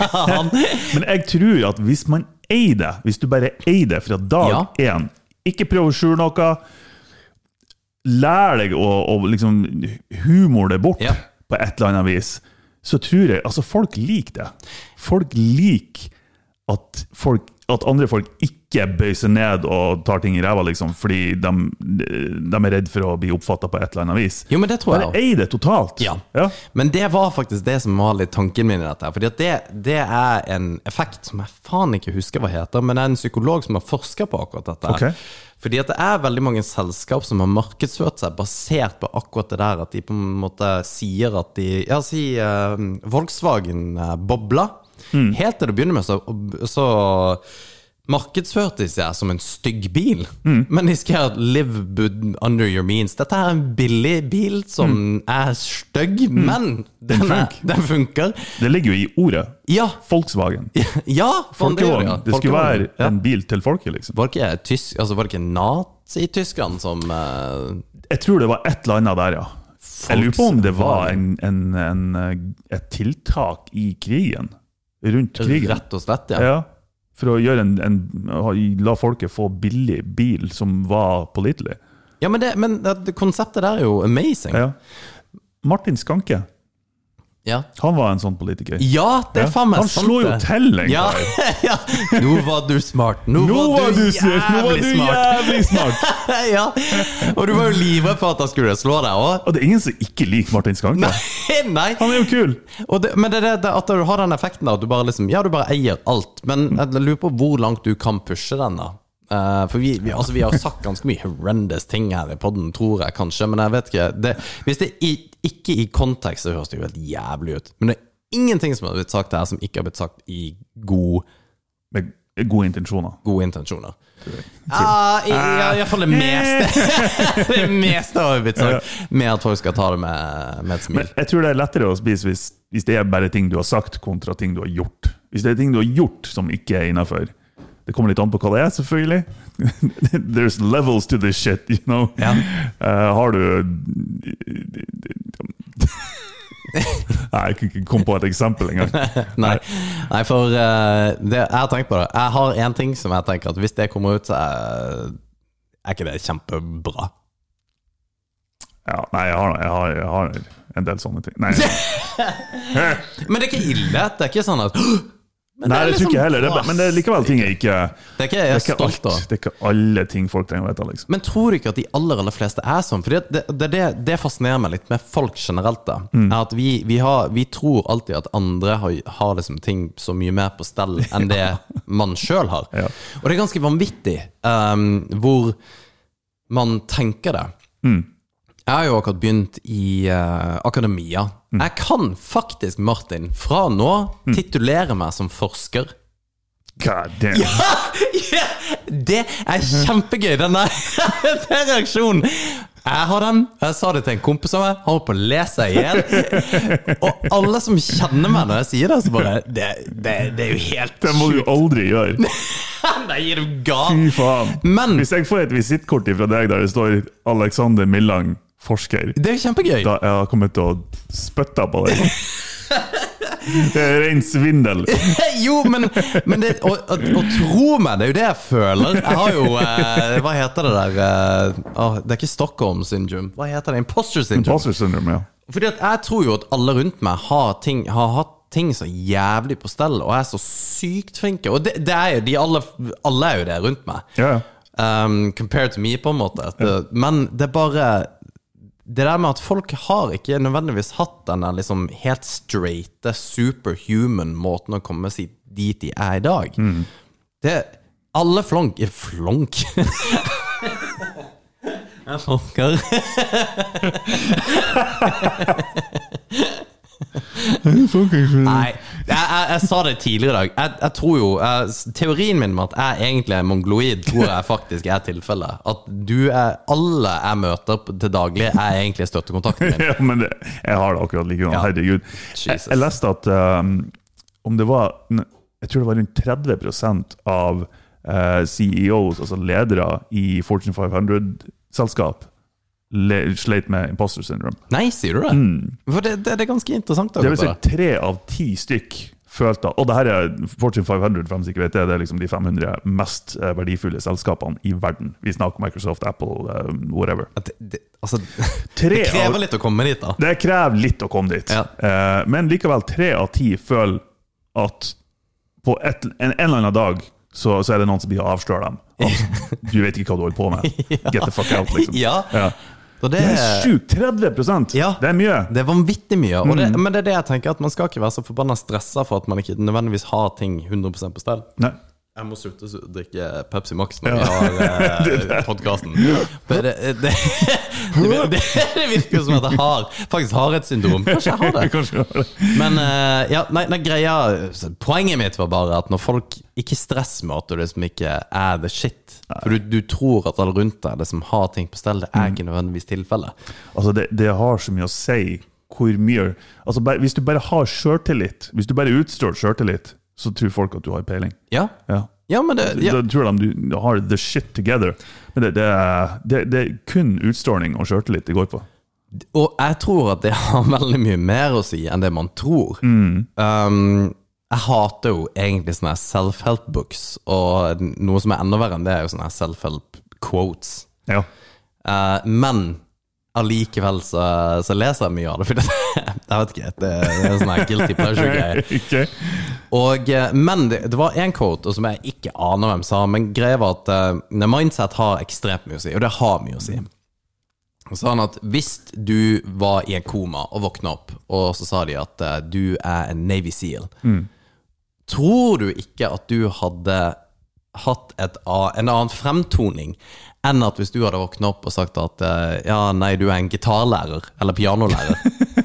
Speaker 6: han.
Speaker 7: Men jeg tror at hvis man eier det, hvis du bare eier det fra dag én Ikke prøv å skjule noe. Lær deg å, å liksom humor det bort
Speaker 6: Ja.
Speaker 7: på et eller annet vis. Så tror jeg Altså, folk liker det. Folk liker at, folk, at andre folk ikke bøyer seg ned og tar ting i ræva, liksom, fordi de, de er redd for å bli oppfatta på et eller annet vis.
Speaker 6: Jo, men det tror jeg
Speaker 7: Bare
Speaker 6: også.
Speaker 7: ei det totalt.
Speaker 6: Ja. Men det var faktisk det som var litt tanken min i dette. her, Fordi at det, det er en effekt som jeg faen ikke husker hva heter, men det er en psykolog som har forska på akkurat dette. her.
Speaker 7: Ok.
Speaker 6: Fordi at det er veldig mange selskap som har markedsført seg basert på akkurat det der at de på en måte sier at de Ja, si eh, Volkswagen eh, bobla.
Speaker 7: Mm.
Speaker 6: Helt til det begynner med, så, så markedsførte de seg som en stygg bil.
Speaker 7: Mm.
Speaker 6: Men de skrev 'live bud- under your means'. Dette er en billig bil som
Speaker 7: Mm.
Speaker 6: er stygg, men den, er,
Speaker 7: funker.
Speaker 6: den funker.
Speaker 7: Det ligger jo i ordet.
Speaker 6: Ja!
Speaker 7: Volkswagen.
Speaker 6: ja faen, det gjør jeg.
Speaker 7: Folkevogn. Det skulle
Speaker 6: Folkevogn.
Speaker 7: være en bil til folket, liksom.
Speaker 6: Var det ikke, tysk, altså var det ikke Nazi-Tyskland som eh,
Speaker 7: Jeg tror det var et eller annet der, ja. Jeg lurer på om det var en, en, en, eh, et tiltak i krigen. Rundt krigen.
Speaker 6: Rett og slett, ja.
Speaker 7: Ja. For å gjøre en, en, ha- la folket få billig bil som var pålitelig.
Speaker 6: ja men, det, men det, det konseptet der er jo amazing. Ja,
Speaker 7: Ja. Martin Skanke,
Speaker 6: ja.
Speaker 7: han var en sånn politiker.
Speaker 6: det er faen meg
Speaker 7: Han
Speaker 6: sant,
Speaker 7: slo jo
Speaker 6: det.
Speaker 7: til, egentlig.
Speaker 6: Ja, ja. Nå var du smart. Nå,
Speaker 7: Nå var du
Speaker 6: jævlig
Speaker 7: smart! Nå var du
Speaker 6: smart.
Speaker 7: jævlig smart!
Speaker 6: ja. Og du var jo livredd for at han skulle slå deg òg.
Speaker 7: Og det er ingen som ikke liker Martin Skanke.
Speaker 6: Nei, nei.
Speaker 7: Han er jo kul!
Speaker 6: Og det, men det, er det, det at du har den effekten da, at du bare liksom, ja, du bare eier alt, men jeg lurer på hvor langt du kan pushe den da. Eh, for vi, vi, altså, vi har sagt ganske mye horrendous ting her i podden, tror jeg kanskje, men jeg vet ikke. Det, hvis det i, ikke i kontekst, så høres det jo helt jævlig ut. Men det er ingenting som har blitt sagt her som ikke har blitt sagt i god,
Speaker 7: Med gode intensjoner.
Speaker 6: gode intensjoner. Ja, i, ja, i hvert fall det meste Det meste har jo blitt sagt. Med at folk skal ta det med, med et smil.
Speaker 7: Men jeg tror det er lettere å spise hvis, hvis det er bare ting du har sagt, kontra ting du har gjort. Hvis det er ting du har gjort som ikke er innafor. Det kommer litt an på hva det er, selvfølgelig. There's levels to this shit, you know.
Speaker 6: Ja.
Speaker 7: Eh, har du Nei, jeg kan ikke komme på et eksempel engang.
Speaker 6: Nei, Nei for eh, det, jeg har tenkt på det. Jeg har én ting som jeg tenker at hvis det kommer ut, så er, er ikke det kjempebra.
Speaker 7: Ja, nei, jeg har, jeg, har, jeg har en del sånne ting. Nei, nei,
Speaker 6: Men det er ikke ille. Det er ikke sånn at Men
Speaker 7: nei det tror ikke jeg heller. Det, er
Speaker 6: bra.
Speaker 7: bare- men det er likevel ting jeg ikke
Speaker 6: Det er ikke jeg
Speaker 7: det
Speaker 6: er
Speaker 7: er ikke,
Speaker 6: stolt av.
Speaker 7: alt, det er ikke alle ting folk trenger å vite, liksom.
Speaker 6: Men tror du ikke at de aller aller fleste er sånn? For det, det, det, det- det fascinerer meg litt med folk generelt. da Er At vi, vi, har, vi tror alltid at andre har, har liksom ting så mye mer på stell enn det man sjøl har.
Speaker 7: Ja.
Speaker 6: Og det er ganske vanvittig ehm, hvor man tenker det. Jeg har jo akkurat begynt i eh, akademia. Jeg kan faktisk, Martin, fra nå titulere meg som forsker.
Speaker 7: God damn.
Speaker 6: Ja, det er kjempegøy, den der den reaksjonen. Jeg har den. Jeg sa det til en kompis av meg. Han holdt på å le seg i hjel. Og alle som kjenner meg når jeg sier det, så bare Det, det, det er jo helt
Speaker 7: Det må du aldri gjøre.
Speaker 6: Nei, er du gal?
Speaker 7: Fy faen.
Speaker 6: Men-
Speaker 7: Hvis jeg får et visittkort fra deg der det står 'Alexander Millang, forsker',
Speaker 6: Det er jo kjempegøy.
Speaker 7: da jeg har kommet til å spytte på deg. Det er ren svindel.
Speaker 6: Jo, men, men det, og, og, og tro meg, det er jo det jeg føler. Jeg har jo eh, Hva heter det der eh, åh, Det er ikke Stockholm syndrome. Hva heter det? Imposter syndrome.
Speaker 7: Imposter syndrome, ja.
Speaker 6: Fordi at jeg tror jo at alle rundt meg har, ting, har hatt ting så jævlig på stell, og er så sykt flinke. Og det, det er jo de alle, alle er jo det rundt meg.
Speaker 7: Ja, ja.
Speaker 6: Um, compared to me, på en måte. At, uh, Men det er bare Det der med at folk har ikke nødvendigvis hatt denne liksom helt straighte, superhuman måten å komme seg dit de er i dag. Det Alle flonk Flonk! Jeg flonker. Nei, jeg, jeg, jeg sa det tidligere i dag. Jeg, jeg tror jo, jeg, Teorien min om at jeg egentlig er mongoloid, tror jeg faktisk er tilfellet. At du er, alle jeg møter på- til daglig, er egentlig støttekontakten min.
Speaker 7: ja, men det, jeg har det akkurat like godt.
Speaker 6: Ja.
Speaker 7: Herregud. Jeg,
Speaker 6: Jesus.
Speaker 7: jeg leste at um, om det var n- Jeg tror det var rundt 30 av eh, CEOs, altså ledere i Fortune 500-selskap, le- sleit med imposter syndrome.
Speaker 6: Nei, sier du det? For det, det, det er ganske interessant. å
Speaker 7: Mm. Det
Speaker 6: høre
Speaker 7: vil si
Speaker 6: på det.
Speaker 7: tre av ti stykk følte Og det her er Fortune 500, for dem som ikke vet det. Det er liksom de 500 mest eh, verdifulle selskapene i verden. Vi snakker Microsoft, Apple, eh, whatever.
Speaker 6: At det, det, altså,
Speaker 7: Tre
Speaker 6: det
Speaker 7: av-
Speaker 6: krever litt å komme dit, da.
Speaker 7: Det krever litt å komme dit.
Speaker 6: Ja.
Speaker 7: Eh, men likevel, tre av ti føler at på et, en, en eller annen dag så, så er det noen som blir avslører dem. At du vet ikke hva du holder på med. Get the fuck out, liksom.
Speaker 6: Ja. Så det,
Speaker 7: Det er sjukt! 30
Speaker 6: Ja.
Speaker 7: Det er mye.
Speaker 6: Det er vanvittig mye. Og det, Men det er det jeg tenker, at man skal ikke være så forbanna stressa for at man ikke nødvendigvis har ting 100 på stell.
Speaker 7: Nei.
Speaker 6: Jeg må slutte å drikke Pepsi Max når vi har eh, podkasten. Det, det, det, det, det, det virker jo som at jeg har, faktisk har et syndrom. Kanskje jeg har det.
Speaker 7: Kanskje det var det.
Speaker 6: Men eh, ja, nei, nei, greia Poenget mitt var bare at når folk ikke stressmøter det som ikke er the shit For du, du tror at alle rundt deg det som har ting på stell, det er ikke nødvendigvis tilfellet.
Speaker 7: Altså, det, det har så mye å si hvor mye altså, bare, Hvis du bare har sjøltillit, hvis du bare utstår sjøltillit, så tror folk at du har peiling.
Speaker 6: Ja,
Speaker 7: Ja.
Speaker 6: ja men det ja.
Speaker 7: Da tror de du har the shit together. Men det, det, er- det, det er kun utstråling og sjøltillit det går på.
Speaker 6: Og jeg tror at det har veldig mye mer å si enn det man tror. Um, jeg hater jo egentlig sånne her self-help books, og noe som er enda verre enn det, er jo sånne her self-help quotes.
Speaker 7: Ja.
Speaker 6: Eh, men allikevel så, så leser jeg mye av det, for det, jeg vet ikke, det, det er sånne her guilty pleasure-greier.
Speaker 7: Ok.
Speaker 6: Og, eh, men det, det var en quote og som jeg ikke aner hvem sa, men greia var at eh, mindset har ekstremt mye å si, og det har mye å si. Og sa han at hvis du var i en koma og våkna opp, og så sa de at eh, du er en Navy Seal, tror du ikke at du hadde hatt et, a- en annen fremtoning enn at hvis du hadde våkna opp og sagt at eh, ja, nei, du er en gitarlærer eller pianolærer?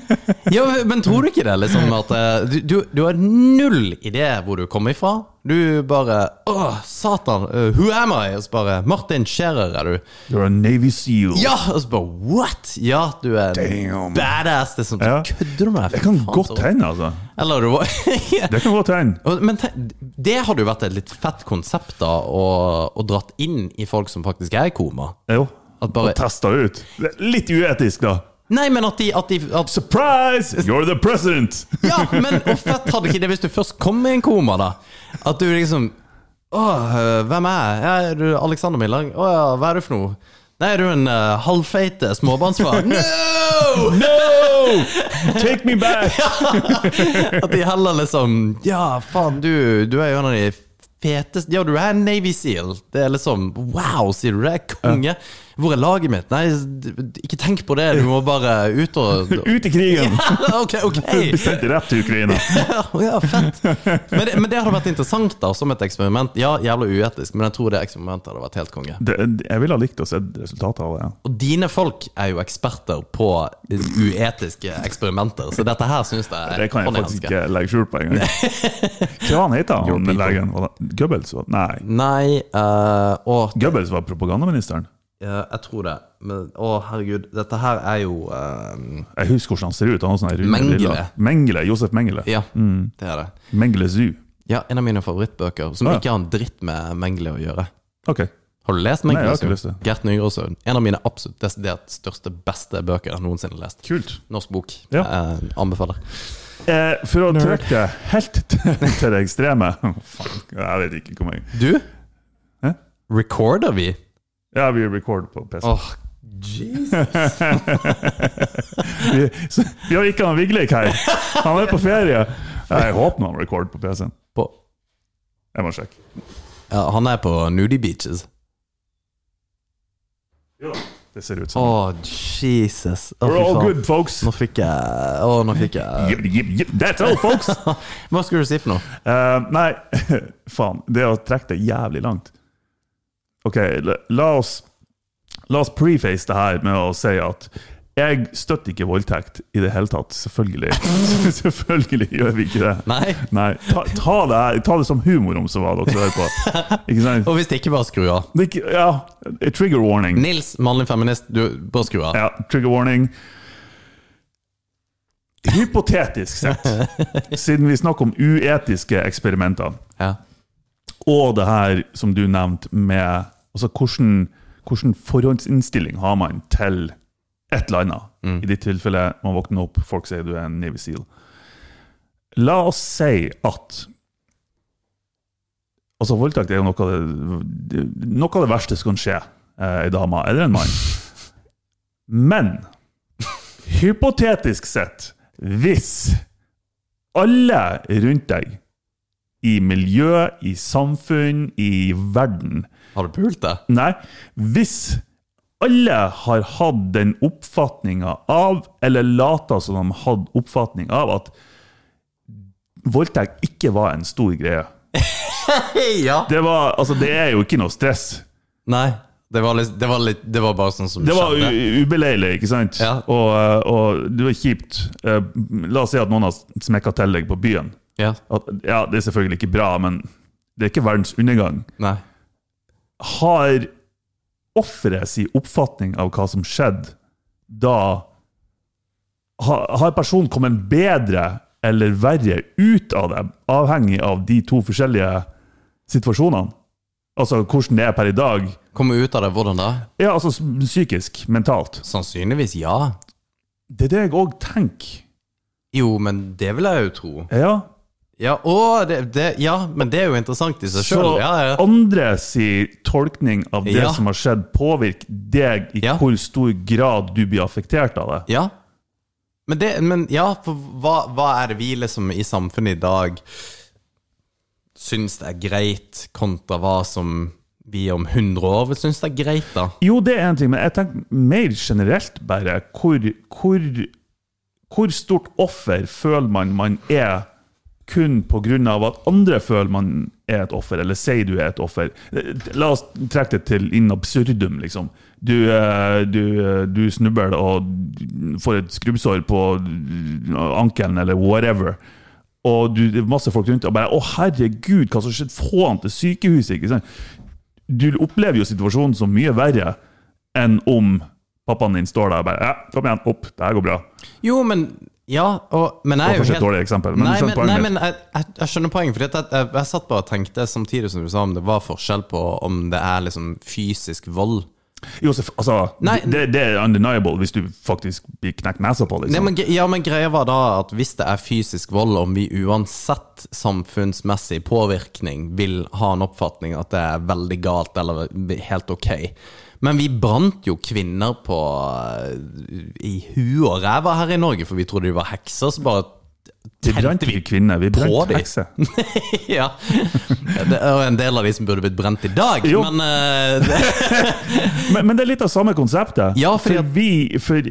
Speaker 6: Ja, men tror du ikke det? Liksom, at, eh, du, du, du har null idé hvor du kommer ifra. Du bare Åh, satan! eh, who am I? Og så bare Martin Scherer er du.
Speaker 7: You're a Navy SEAL.
Speaker 6: Ja! Og så bare What?! Ja, du er
Speaker 7: Damn.
Speaker 6: badass! Det er sånn,
Speaker 7: Ja.
Speaker 6: Kødder du med meg?
Speaker 7: Det kan
Speaker 6: Faen,
Speaker 7: godt
Speaker 6: så-
Speaker 7: hende, altså.
Speaker 6: Eller du var Ja.
Speaker 7: Det kan godt hende.
Speaker 6: Og- Men tenk- det hadde jo vært et litt fett konsept, da, å å dratt inn i folk som faktisk er i koma.
Speaker 7: Jo.
Speaker 6: At bare-
Speaker 7: Og testa ut. Det er Litt uetisk, da.
Speaker 6: Nei, men at de, at de at,
Speaker 7: Surprise! You're the president!
Speaker 6: Ja, men hvor fett hadde ikke det hvis du først kom i en koma, da? At du liksom Åh, øh, hvem er jeg? Ja, Er du Alexander Millang? Å ja, hva er du for noe? Nei, er du en uh, halvfeite småbarnsfar? No!
Speaker 7: No! Take me back!
Speaker 6: At de heller liksom Ja, faen, du, du er jo en av de feteste Ja, du er en Navy Seal. Det er liksom Wow, sier du det? er Konge. Hvor er laget mitt? Nei, d- d- ikke tenk på det. Du må bare ut og
Speaker 7: Ut i krigen!
Speaker 6: Ok, ok.
Speaker 7: Blir sendt rett til Ukraina.
Speaker 6: Ja, ja, fett. Men det, men det hadde vært interessant da, som et eksperiment. Ja, jævla uetisk, men jeg tror det eksperimentet hadde vært helt konge.
Speaker 7: Det, jeg ville ha likt å se resultatet av det. ja.
Speaker 6: Og dine folk er jo eksperter på uetiske eksperimenter, så dette her syns jeg er
Speaker 7: Det kan jeg
Speaker 6: hånd i
Speaker 7: faktisk
Speaker 6: hanske.
Speaker 7: ikke legge skjul på engang. Hva han heter han legen? Var det Goebbels? var- Nei.
Speaker 6: Nei, eh, og
Speaker 7: Goebbels var propagandaministeren.
Speaker 6: Ja, jeg tror det. Men, å, herregud. Dette her er jo eh,
Speaker 7: Jeg husker hvordan han ser ut. Han har sånne runde
Speaker 6: Mengele.
Speaker 7: briller. Mengele, Josef Mengele.
Speaker 6: Ja,
Speaker 7: Mm.
Speaker 6: det er det.
Speaker 7: Mengele Zoo.
Speaker 6: Ja, En av mine favorittbøker som
Speaker 7: Ah, ja.
Speaker 6: ikke har en dritt med Mengele å gjøre.
Speaker 7: Ok.
Speaker 6: Har du lest
Speaker 7: Nei, jeg
Speaker 6: Mengele?
Speaker 7: har ikke lest det.
Speaker 6: Gert Nygaardsøen. En av mine absolutt desidert største, beste bøker jeg noensinne har lest.
Speaker 7: Kult.
Speaker 6: Norsk bok.
Speaker 7: Ja.
Speaker 6: Eh, anbefaler.
Speaker 7: Eh, for å trekke det helt til til det ekstreme Faen, jeg vet ikke hvor mye
Speaker 6: Du?
Speaker 7: Hæ?
Speaker 6: Recorder vi?
Speaker 7: Ja, vi recorder på PC.
Speaker 6: Åh, Jesus.
Speaker 7: Vi, så, vi har ikke han Vigleik her. Han er på ferie. Jeg håper nå han record på PC-en.
Speaker 6: På,
Speaker 7: Jeg må sjekke.
Speaker 6: ja, han er på nudie beaches.
Speaker 7: Det ser
Speaker 6: Å,
Speaker 7: ut som
Speaker 6: Jesus. Å,
Speaker 7: We're
Speaker 6: fy
Speaker 7: all
Speaker 6: faen.
Speaker 7: good, folks.
Speaker 6: Nå fikk jeg Å, nå fikk jeg
Speaker 7: Yep, yep, yep. That's all, folks!
Speaker 6: Hva skulle du si for noe?
Speaker 7: Eh, nei, faen. Det å trekke det jævlig langt. Ok, la- la oss La oss preface det her med å si at jeg støtter ikke voldtekt i det hele tatt. Selvfølgelig. Selvfølgelig gjør vi ikke det.
Speaker 6: Nei.
Speaker 7: Ta, ta, det, her, ta det som humor om så hva dere hører på. Ikke sant?
Speaker 6: Og hvis det ikke, bare skru av.
Speaker 7: Det er ikke- Ja, a trigger warning.
Speaker 6: Nils, mannlig feminist, du, bare skru av.
Speaker 7: Ja, trigger warning. Hypotetisk sett, siden vi snakker om uetiske eksperimenter,
Speaker 6: Ja.
Speaker 7: og det her som du nevnte med altså hvordan, hvordan forhåndsinnstilling har man til et eller annet? I ditt tilfelle, man våkner opp, folk sier du er en Navy Seal. La oss si at Altså, voldtekt er jo noe av det, noe av det verste som kan skje eh, ei dame eller en mann. Men hypotetisk sett, hvis alle rundt deg i miljø, i samfunn, i verden.
Speaker 6: Har du pult det?
Speaker 7: Nei, hvis alle har hatt den oppfatninga av, eller lata som de hadde oppfatning av, at voldtekt ikke var en stor greie.
Speaker 6: Ja.
Speaker 7: Det, var, altså, det er jo ikke noe stress.
Speaker 6: Nei. Det var, litt, det, var litt, det var bare sånn som
Speaker 7: Det var
Speaker 6: skjedde.
Speaker 7: u- ubeleilig, ikke sant?
Speaker 6: Ja.
Speaker 7: Og, eh, og det var kjipt. Eh, La oss si at noen har smekka til deg på byen.
Speaker 6: Ja.
Speaker 7: At, ja, det er selvfølgelig ikke bra, men det er ikke verdens undergang.
Speaker 6: Nei.
Speaker 7: har offeret sin oppfatning av hva som skjedde, da ha- Har personen kommet bedre eller verre ut av det, avhengig av de to forskjellige situasjonene? Altså hvordan det er per i dag?
Speaker 6: Komme ut av det, hvordan da?
Speaker 7: Ja, altså s- psykisk, mentalt.
Speaker 6: Sannsynligvis ja.
Speaker 7: Det er det jeg òg tenker.
Speaker 6: Jo, men det vil jeg jo tro.
Speaker 7: Ja.
Speaker 6: Ja, å, det, det, ja men det er jo interessant i seg sjøl.
Speaker 7: Så
Speaker 6: Ja, ja.
Speaker 7: andre sin tolkning av det
Speaker 6: Ja.
Speaker 7: som har skjedd, påvirker deg i
Speaker 6: Ja.
Speaker 7: hvor stor grad du blir affektert av det.
Speaker 6: ja. Men, det, men ja, for hva, hva er det vi liksom i samfunnet i dag syns er greit, kontra hva som vi om 100 år vil synes er greit, da?
Speaker 7: Jo, det er en ting, men jeg tenker mer generelt bare hvor, hvor, hvor stort offer føler man man er kun på grunn av at andre føler man er et offer, eller sier du er et offer. Eh, La oss trekke det til in absurdum, liksom. Du, eh, du, eh, du snubler og får et skrubbsår på eh, ankelen, eller whatever. Og du, det er masse folk rundt deg og bare 'Å, herregud, hva som skjedde? Få han til sykehuset!' ikke sant? du opplever jo situasjonen som mye verre enn om pappaen din står der og bare ja, 'Kom igjen, opp, det her går bra'.
Speaker 6: Jo, men Ja, og, men jeg er
Speaker 7: Det var
Speaker 6: jo
Speaker 7: kanskje et dårlig eksempel, men du
Speaker 6: nei, men,
Speaker 7: skjønner poenget
Speaker 6: nei,
Speaker 7: mitt.
Speaker 6: men jeg, jeg, jeg skjønner poenget, for jeg, jeg, jeg satt bare og tenkte samtidig som du sa om det var forskjell på om det er liksom fysisk vold.
Speaker 7: Josef, altså,
Speaker 6: Nei,
Speaker 7: det, det er undeniable hvis du faktisk blir knekt nesa på.
Speaker 6: Nei,
Speaker 7: liksom.
Speaker 6: men, gre- ja, men greia var da at hvis det er fysisk vold, om vi uansett samfunnsmessig påvirkning vil ha en oppfatning at det er veldig galt eller helt ok. Men vi brant jo kvinner på eh, i huet og ræva her i Norge, for vi trodde de var hekser, så bare
Speaker 7: vi brant ikke kvinner, vi
Speaker 6: på
Speaker 7: brant
Speaker 6: de.
Speaker 7: hekser.
Speaker 6: ja. Det er jo en del av de som burde blitt brent i dag,
Speaker 7: Jo.
Speaker 6: men eh, det,
Speaker 7: Men, men det er litt av samme konseptet.
Speaker 6: Ja, fordi
Speaker 7: for
Speaker 6: at-
Speaker 7: vi For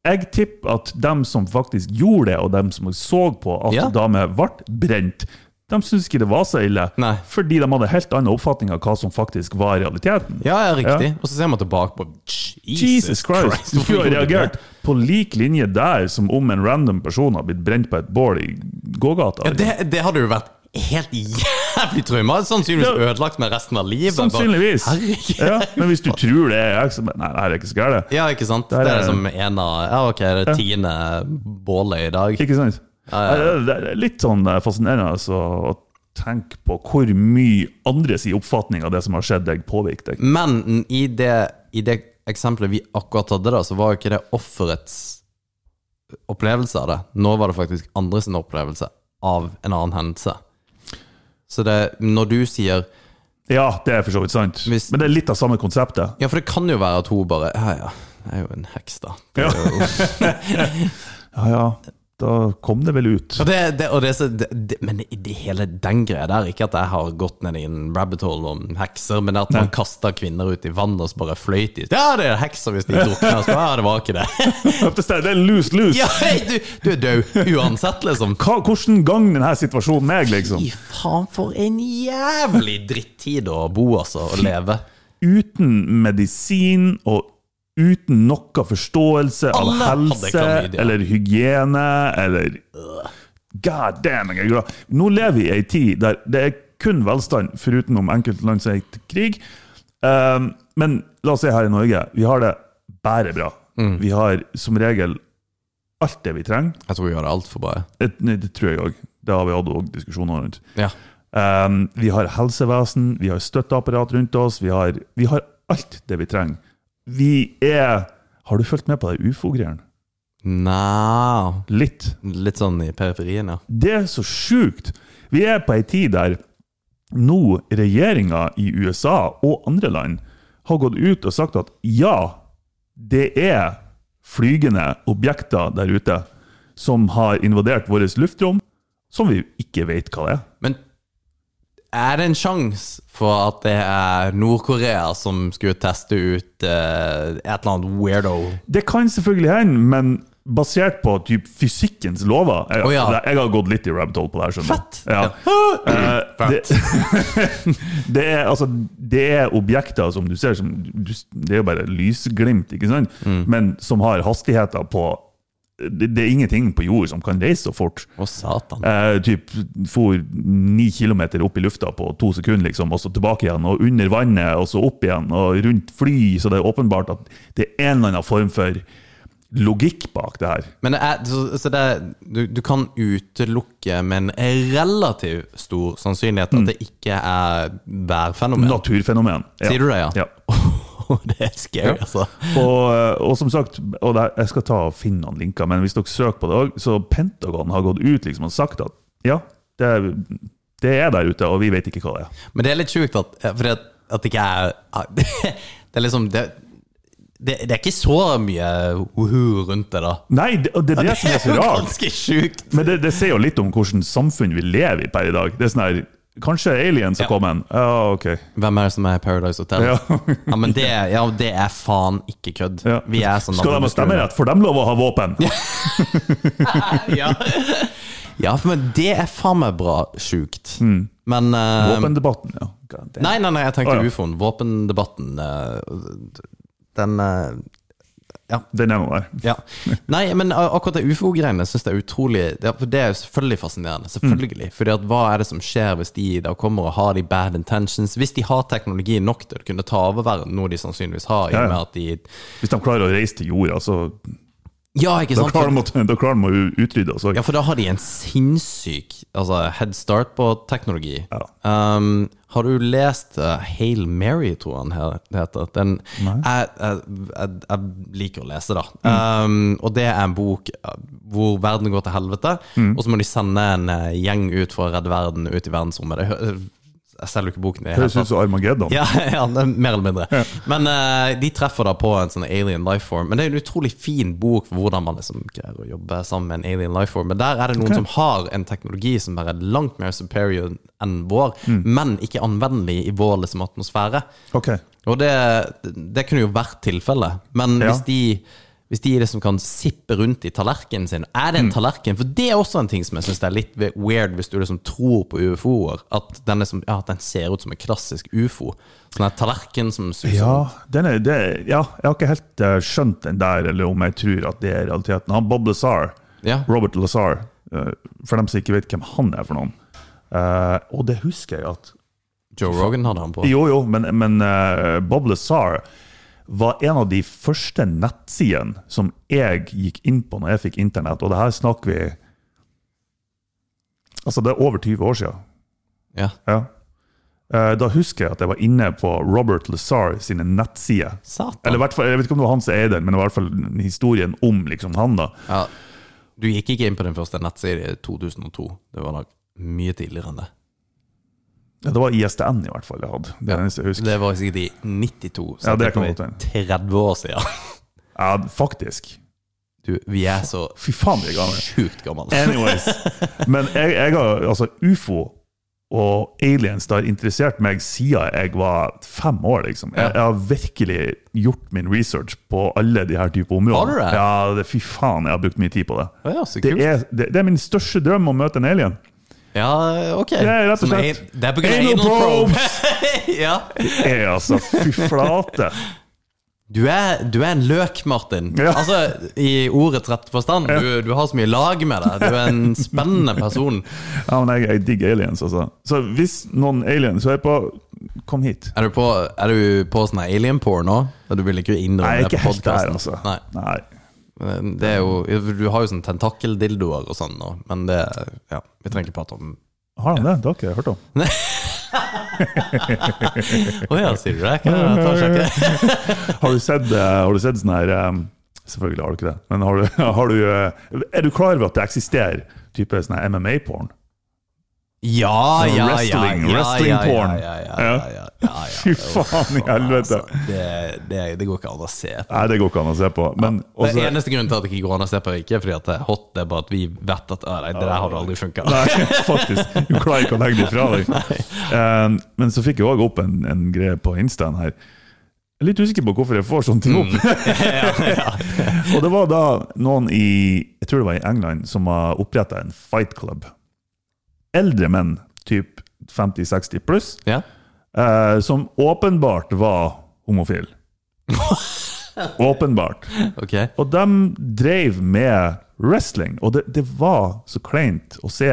Speaker 7: jeg tipper at dem som faktisk gjorde det, og dem som så på at
Speaker 6: Ja.
Speaker 7: damer ble brent, de syntes ikke det var så ille,
Speaker 6: Nei.
Speaker 7: fordi de hadde helt annen oppfatning av hva som faktisk var realiteten.
Speaker 6: Ja, ja, riktig. Og så ser man tilbake på Jesus,
Speaker 7: Jesus Christ! Du
Speaker 6: hvorfor
Speaker 7: skulle
Speaker 6: gjorde
Speaker 7: ha
Speaker 6: de det?
Speaker 7: reagert på lik linje der som om en random person har blitt brent på et bål i gågata.
Speaker 6: Ja, det, det hadde jo vært helt jævlig trauma. Sannsynligvis
Speaker 7: Ja.
Speaker 6: ødelagt med resten av livet. Bare-
Speaker 7: Sannsynligvis!
Speaker 6: Herregud.
Speaker 7: Ja, men hvis du tror det er jeg som Nei, det her er ikke så gærent.
Speaker 6: Ja, ikke sant?
Speaker 7: er-
Speaker 6: det er som en av Ja, ok, det er tiende bålet i dag.
Speaker 7: Ikke sant? Nei, Det er litt sånn eh, fascinerende altså, å tenke på hvor mye andres i oppfatning av det som har skjedd deg, påvirker deg.
Speaker 6: Men i det, i det eksempelet vi akkurat hadde, da, så var jo ikke det offerets opplevelse av det. Nå var det faktisk andres opplevelse av en annen hendelse. Så det, når du sier
Speaker 7: Ja, det er for så vidt sant.
Speaker 6: Hvis-
Speaker 7: Men det er litt av samme konseptet.
Speaker 6: Ja, for det kan jo være at hun bare Ja, ja, jeg er jo en heks, da. Det er jo,
Speaker 7: Ja, ja. da kom det vel ut.
Speaker 6: Og det, det, og det, så- det, det, men i det hele den greia der, ikke at jeg har gått ned i en rabbit hole om hekser, men at man kasta kvinner ut i vannet og så bare fløyt i Ja, det er hekser hvis de drukner! Så, ja, det var ikke det.
Speaker 7: Opp til stedet, Det er lus, lus!
Speaker 6: Ja, hei, du, du er død uansett, liksom.
Speaker 7: Hva, hvordan gang denne situasjonen meg, liksom?
Speaker 6: Fy faen, for en jævlig drittid å bo, altså, og leve.
Speaker 7: Uten medisin og uten noe forståelse av
Speaker 6: Alle hadde
Speaker 7: helse
Speaker 6: klamydia.
Speaker 7: eller hygiene eller God damn, jeg er glad. Nå lever vi i ei tid der det er kun velstand, foruten om enkelte land som er i krig. Um, men la oss si her i Norge, vi har det bare bra.
Speaker 6: Mm.
Speaker 7: Vi har som regel alt det vi trenger.
Speaker 6: Jeg tror vi gjør det altfor bra.
Speaker 7: Det, det tror jeg òg. Det har vi hatt også diskusjoner rundt.
Speaker 6: Ja.
Speaker 7: Um, vi har helsevesen, vi har støtteapparat rundt oss, vi har, vi har alt det vi trenger. Vi er Har du fulgt med på de ufo-greiene?
Speaker 6: Nja
Speaker 7: Litt.
Speaker 6: Litt sånn i periferien, ja.
Speaker 7: Det er så sjukt! Vi er på ei tid der nå regjeringa i USA og andre land har gått ut og sagt at ja, det er flygende objekter der ute som har invadert vårt luftrom, som vi ikke vet hva er.
Speaker 6: Men er det en sjanse for at det er Nord-Korea som skulle teste ut eh, et eller annet weirdo?
Speaker 7: Det kan selvfølgelig hende, men basert på typ fysikkens lover jeg, altså,
Speaker 6: Å, ja.
Speaker 7: jeg har gått litt i rabbit hole på det her, skjønner du.
Speaker 6: Fett!
Speaker 7: Ja. Eh, det, det, er, altså, det er objekter som du ser som du, Det er jo bare lysglimt, ikke sant?
Speaker 6: Mm.
Speaker 7: Men som har hastigheter på det, det er ingenting på jord som kan reise så fort.
Speaker 6: Å, satan.
Speaker 7: Eh, typ for ni kilometer opp i lufta på to sekunder, liksom, og så tilbake igjen, og under vannet, og så opp igjen, og rundt fly, så det er åpenbart at det er en eller annen form for logikk bak det her.
Speaker 6: Men det er, så, så det er, du, du kan utelukke med en relativt stor sannsynlighet at det
Speaker 7: Mm.
Speaker 6: ikke er værfenomen.
Speaker 7: Naturfenomen. Ja.
Speaker 6: Sier du det, ja?
Speaker 7: Ja.
Speaker 6: det er scary, altså.
Speaker 7: Og, eh, og som sagt, og det, jeg skal ta og finne noen linker, men hvis dere søker på det òg, så Pentagon har gått ut liksom og sagt at ja, det, det er der ute, og vi vet ikke hva det er.
Speaker 6: Men det er litt sjukt at, fordi at, at det ikke er Det er liksom det, det, det er ikke så mye uhu rundt det, da.
Speaker 7: Nei, det, og det er det som er så
Speaker 6: jo
Speaker 7: rart.
Speaker 6: ganske sjukt.
Speaker 7: Men det, det sier jo litt om hvilket samfunn vi lever i per i dag. Det er sånn her Kanskje aliens har
Speaker 6: Ja.
Speaker 7: kommet? Ja, ok.
Speaker 6: Hvem er det som er i Paradise Hotel?
Speaker 7: Ja.
Speaker 6: Ja, men det, er- ja, det er faen ikke kødd.
Speaker 7: Ja.
Speaker 6: Vi er sånn
Speaker 7: Skal de ha stemmerett? Får de lov å ha våpen?
Speaker 6: Ja. ja, for men det er faen meg bra sjukt. Men eh,
Speaker 7: Våpendebatten, ja. God damn.
Speaker 6: Nei, nei, nei, jeg tenkte
Speaker 7: Mm. Å, ja.
Speaker 6: ufoen. Våpendebatten. eh, Den eh,
Speaker 7: Den er nå der.
Speaker 6: Ja. Nei, men a- akkurat det ufo-greiene syns jeg er utrolig det, for det er jo selvfølgelig fascinerende. Selvfølgelig.
Speaker 7: Mm.
Speaker 6: Fordi at hva er det som skjer hvis de da kommer og har de bad intentions? Hvis de har teknologi nok til å kunne ta over verden, noe de sannsynligvis har, i
Speaker 7: Ja, ja.
Speaker 6: og med at de
Speaker 7: Hvis de klarer å reise til jorda, så
Speaker 6: Ja, ikke
Speaker 7: da
Speaker 6: sant?
Speaker 7: klarer de å, da klarer de å utrydde oss òg.
Speaker 6: Ja, for da har de en sinnssyk altså, head start på teknologi.
Speaker 7: Ja.
Speaker 6: Um, har du lest uh, Hail Mary, tror jeg den he- det heter? Den, jeg, jeg, jeg, jeg liker å lese, da. Um, og det er en bok uh, hvor verden går til helvete,
Speaker 7: Mm.
Speaker 6: og så må de sende en uh, gjeng ut for å redde verden ut i verdensrommet. Det, hø- uh, jeg selger jo ikke boken. i det hele
Speaker 7: Høres ut
Speaker 6: tatt.
Speaker 7: som Armageddon.
Speaker 6: Ja, ja det er mer eller mindre. Men eh, de treffer da på en sånn alien lifeform. Men det er en utrolig fin bok for hvordan man liksom greier å jobbe sammen med en alien lifeform. Men der er det noen som har en teknologi som er langt mer superior enn vår, men ikke anvendelig i vår liksom, atmosfære.
Speaker 7: Ok.
Speaker 6: Og det, det kunne jo vært tilfellet. Men
Speaker 7: Ja.
Speaker 6: hvis de hvis de liksom kan sippe rundt i tallerkenen sin Er
Speaker 7: Mm.
Speaker 6: det en tallerken? For det er også en ting som jeg syns er litt weird, hvis du liksom tror på ufoer. At den, er som, ja, at den ser ut som en klassisk ufo. Sånn en tallerken som suser
Speaker 7: Ja,
Speaker 6: rundt.
Speaker 7: den er, det, ja, jeg har ikke helt eh, skjønt den der, eller om jeg tror at det er realiteten. Han Bob Lazar,
Speaker 6: Ja.
Speaker 7: Robert Lazar, eh, for dem som ikke vet hvem han er for noen. Eh, og det husker jeg at
Speaker 6: Joe Rogan hadde han på.
Speaker 7: Jo, jo, men, men eh, Bob Lazar var en av de første nettsidene som jeg gikk inn på når jeg fikk internett, og det her snakker vi Altså, det er over 20 år siden.
Speaker 6: Ja.
Speaker 7: Ja. Eh, Da husker jeg at jeg var inne på Robert Lazar sine nettsider. Eller i
Speaker 6: Satan.
Speaker 7: hvert fall, Jeg vet ikke om det var han som eier den, men det var i hvert fall historien om liksom, han. da.
Speaker 6: Ja. Du gikk ikke inn på din første nettside i 2002. Det var nok mye tidligere enn det.
Speaker 7: Ja, det var ISDN i hvert fall jeg hadde. Det er det eneste jeg husker.
Speaker 6: Det var sikkert i 92. Så
Speaker 7: Ja, det
Speaker 6: det
Speaker 7: kan
Speaker 6: er
Speaker 7: godt hende.
Speaker 6: 30 år siden.
Speaker 7: Ja, faktisk.
Speaker 6: Du, vi er så
Speaker 7: Fy faen, vi er gamle.
Speaker 6: sjukt gamle.
Speaker 7: Anyways. Men jeg, jeg har altså ufo og aliens det har interessert meg siden jeg var fem år. liksom. Jeg,
Speaker 6: Ja.
Speaker 7: jeg har virkelig gjort min research på alle de her type
Speaker 6: Har
Speaker 7: områder.
Speaker 6: du det?
Speaker 7: Ja, det, fy faen, jeg har brukt mye tid på det.
Speaker 6: Å ja, så
Speaker 7: det,
Speaker 6: kult.
Speaker 7: er, det, det er min største drøm å møte en alien.
Speaker 6: Ja, ok.
Speaker 7: Det er rett og
Speaker 6: Som
Speaker 7: slett
Speaker 6: an- Det er på grunn av
Speaker 7: anal
Speaker 6: anal probe.
Speaker 7: probes.
Speaker 6: ja.
Speaker 7: Det er altså fy flate.
Speaker 6: du, er, du er en løk, Martin.
Speaker 7: Ja.
Speaker 6: Altså, I ordets rette forstand. Du, du har så mye lag med deg. Du er en spennende person.
Speaker 7: Ja, men jeg, jeg digger aliens, altså. Så hvis noen aliens hører på, kom hit.
Speaker 6: Er du på, er du på sånn her alien porn nå? Da Du vil ikke
Speaker 7: Nei,
Speaker 6: innrømme
Speaker 7: jeg er
Speaker 6: det
Speaker 7: ikke
Speaker 6: på
Speaker 7: helt der,
Speaker 6: podkasten?
Speaker 7: altså.
Speaker 6: Nei.
Speaker 7: Nei.
Speaker 6: Men Det er jo, du har jo sånn tentakeldildoer og sånn nå, men det ja, Vi trenger ikke prate om
Speaker 7: Har han det? Det har ikke jeg hørt om.
Speaker 6: Å ja, sier du det? Kan jeg ta og sjekke?
Speaker 7: Har du sett, eh, har du sett sånn her eh, Selvfølgelig har du ikke det. Men har du, har du, eh, er du klar over at det eksisterer type sånn her MMA-porn?
Speaker 6: Ja, ja, ja. ja,
Speaker 7: Sånn Wrestling-
Speaker 6: ja,
Speaker 7: wrestling
Speaker 6: ja, ja,
Speaker 7: porn.
Speaker 6: ja, ja, ja, ja, ja, ja.
Speaker 7: Fy faen i helvete!
Speaker 6: Altså, det, det, det går ikke an å se på.
Speaker 7: Nei, det går ikke an å se på. Men
Speaker 6: Det
Speaker 7: også,
Speaker 6: eneste grunnen til at det ikke går an å se på, er ikke fordi at det er hot, det er bare at vi vet at «Å, nei, det der har aldri funka.
Speaker 7: Nei, faktisk. Du klarer ikke å legge det fra deg. Eh, men så fikk jeg òg opp en, en greie på Instaen her. Jeg er litt usikker på hvorfor jeg får sånne ting opp. og det var da noen i jeg tror det var i England som har oppretta en fight club. Eldre menn, typ 50-60 pluss,
Speaker 6: Ja.
Speaker 7: eh, som åpenbart var homofil. åpenbart.
Speaker 6: Ok.
Speaker 7: Og de drev med wrestling, og det, det var så kleint å se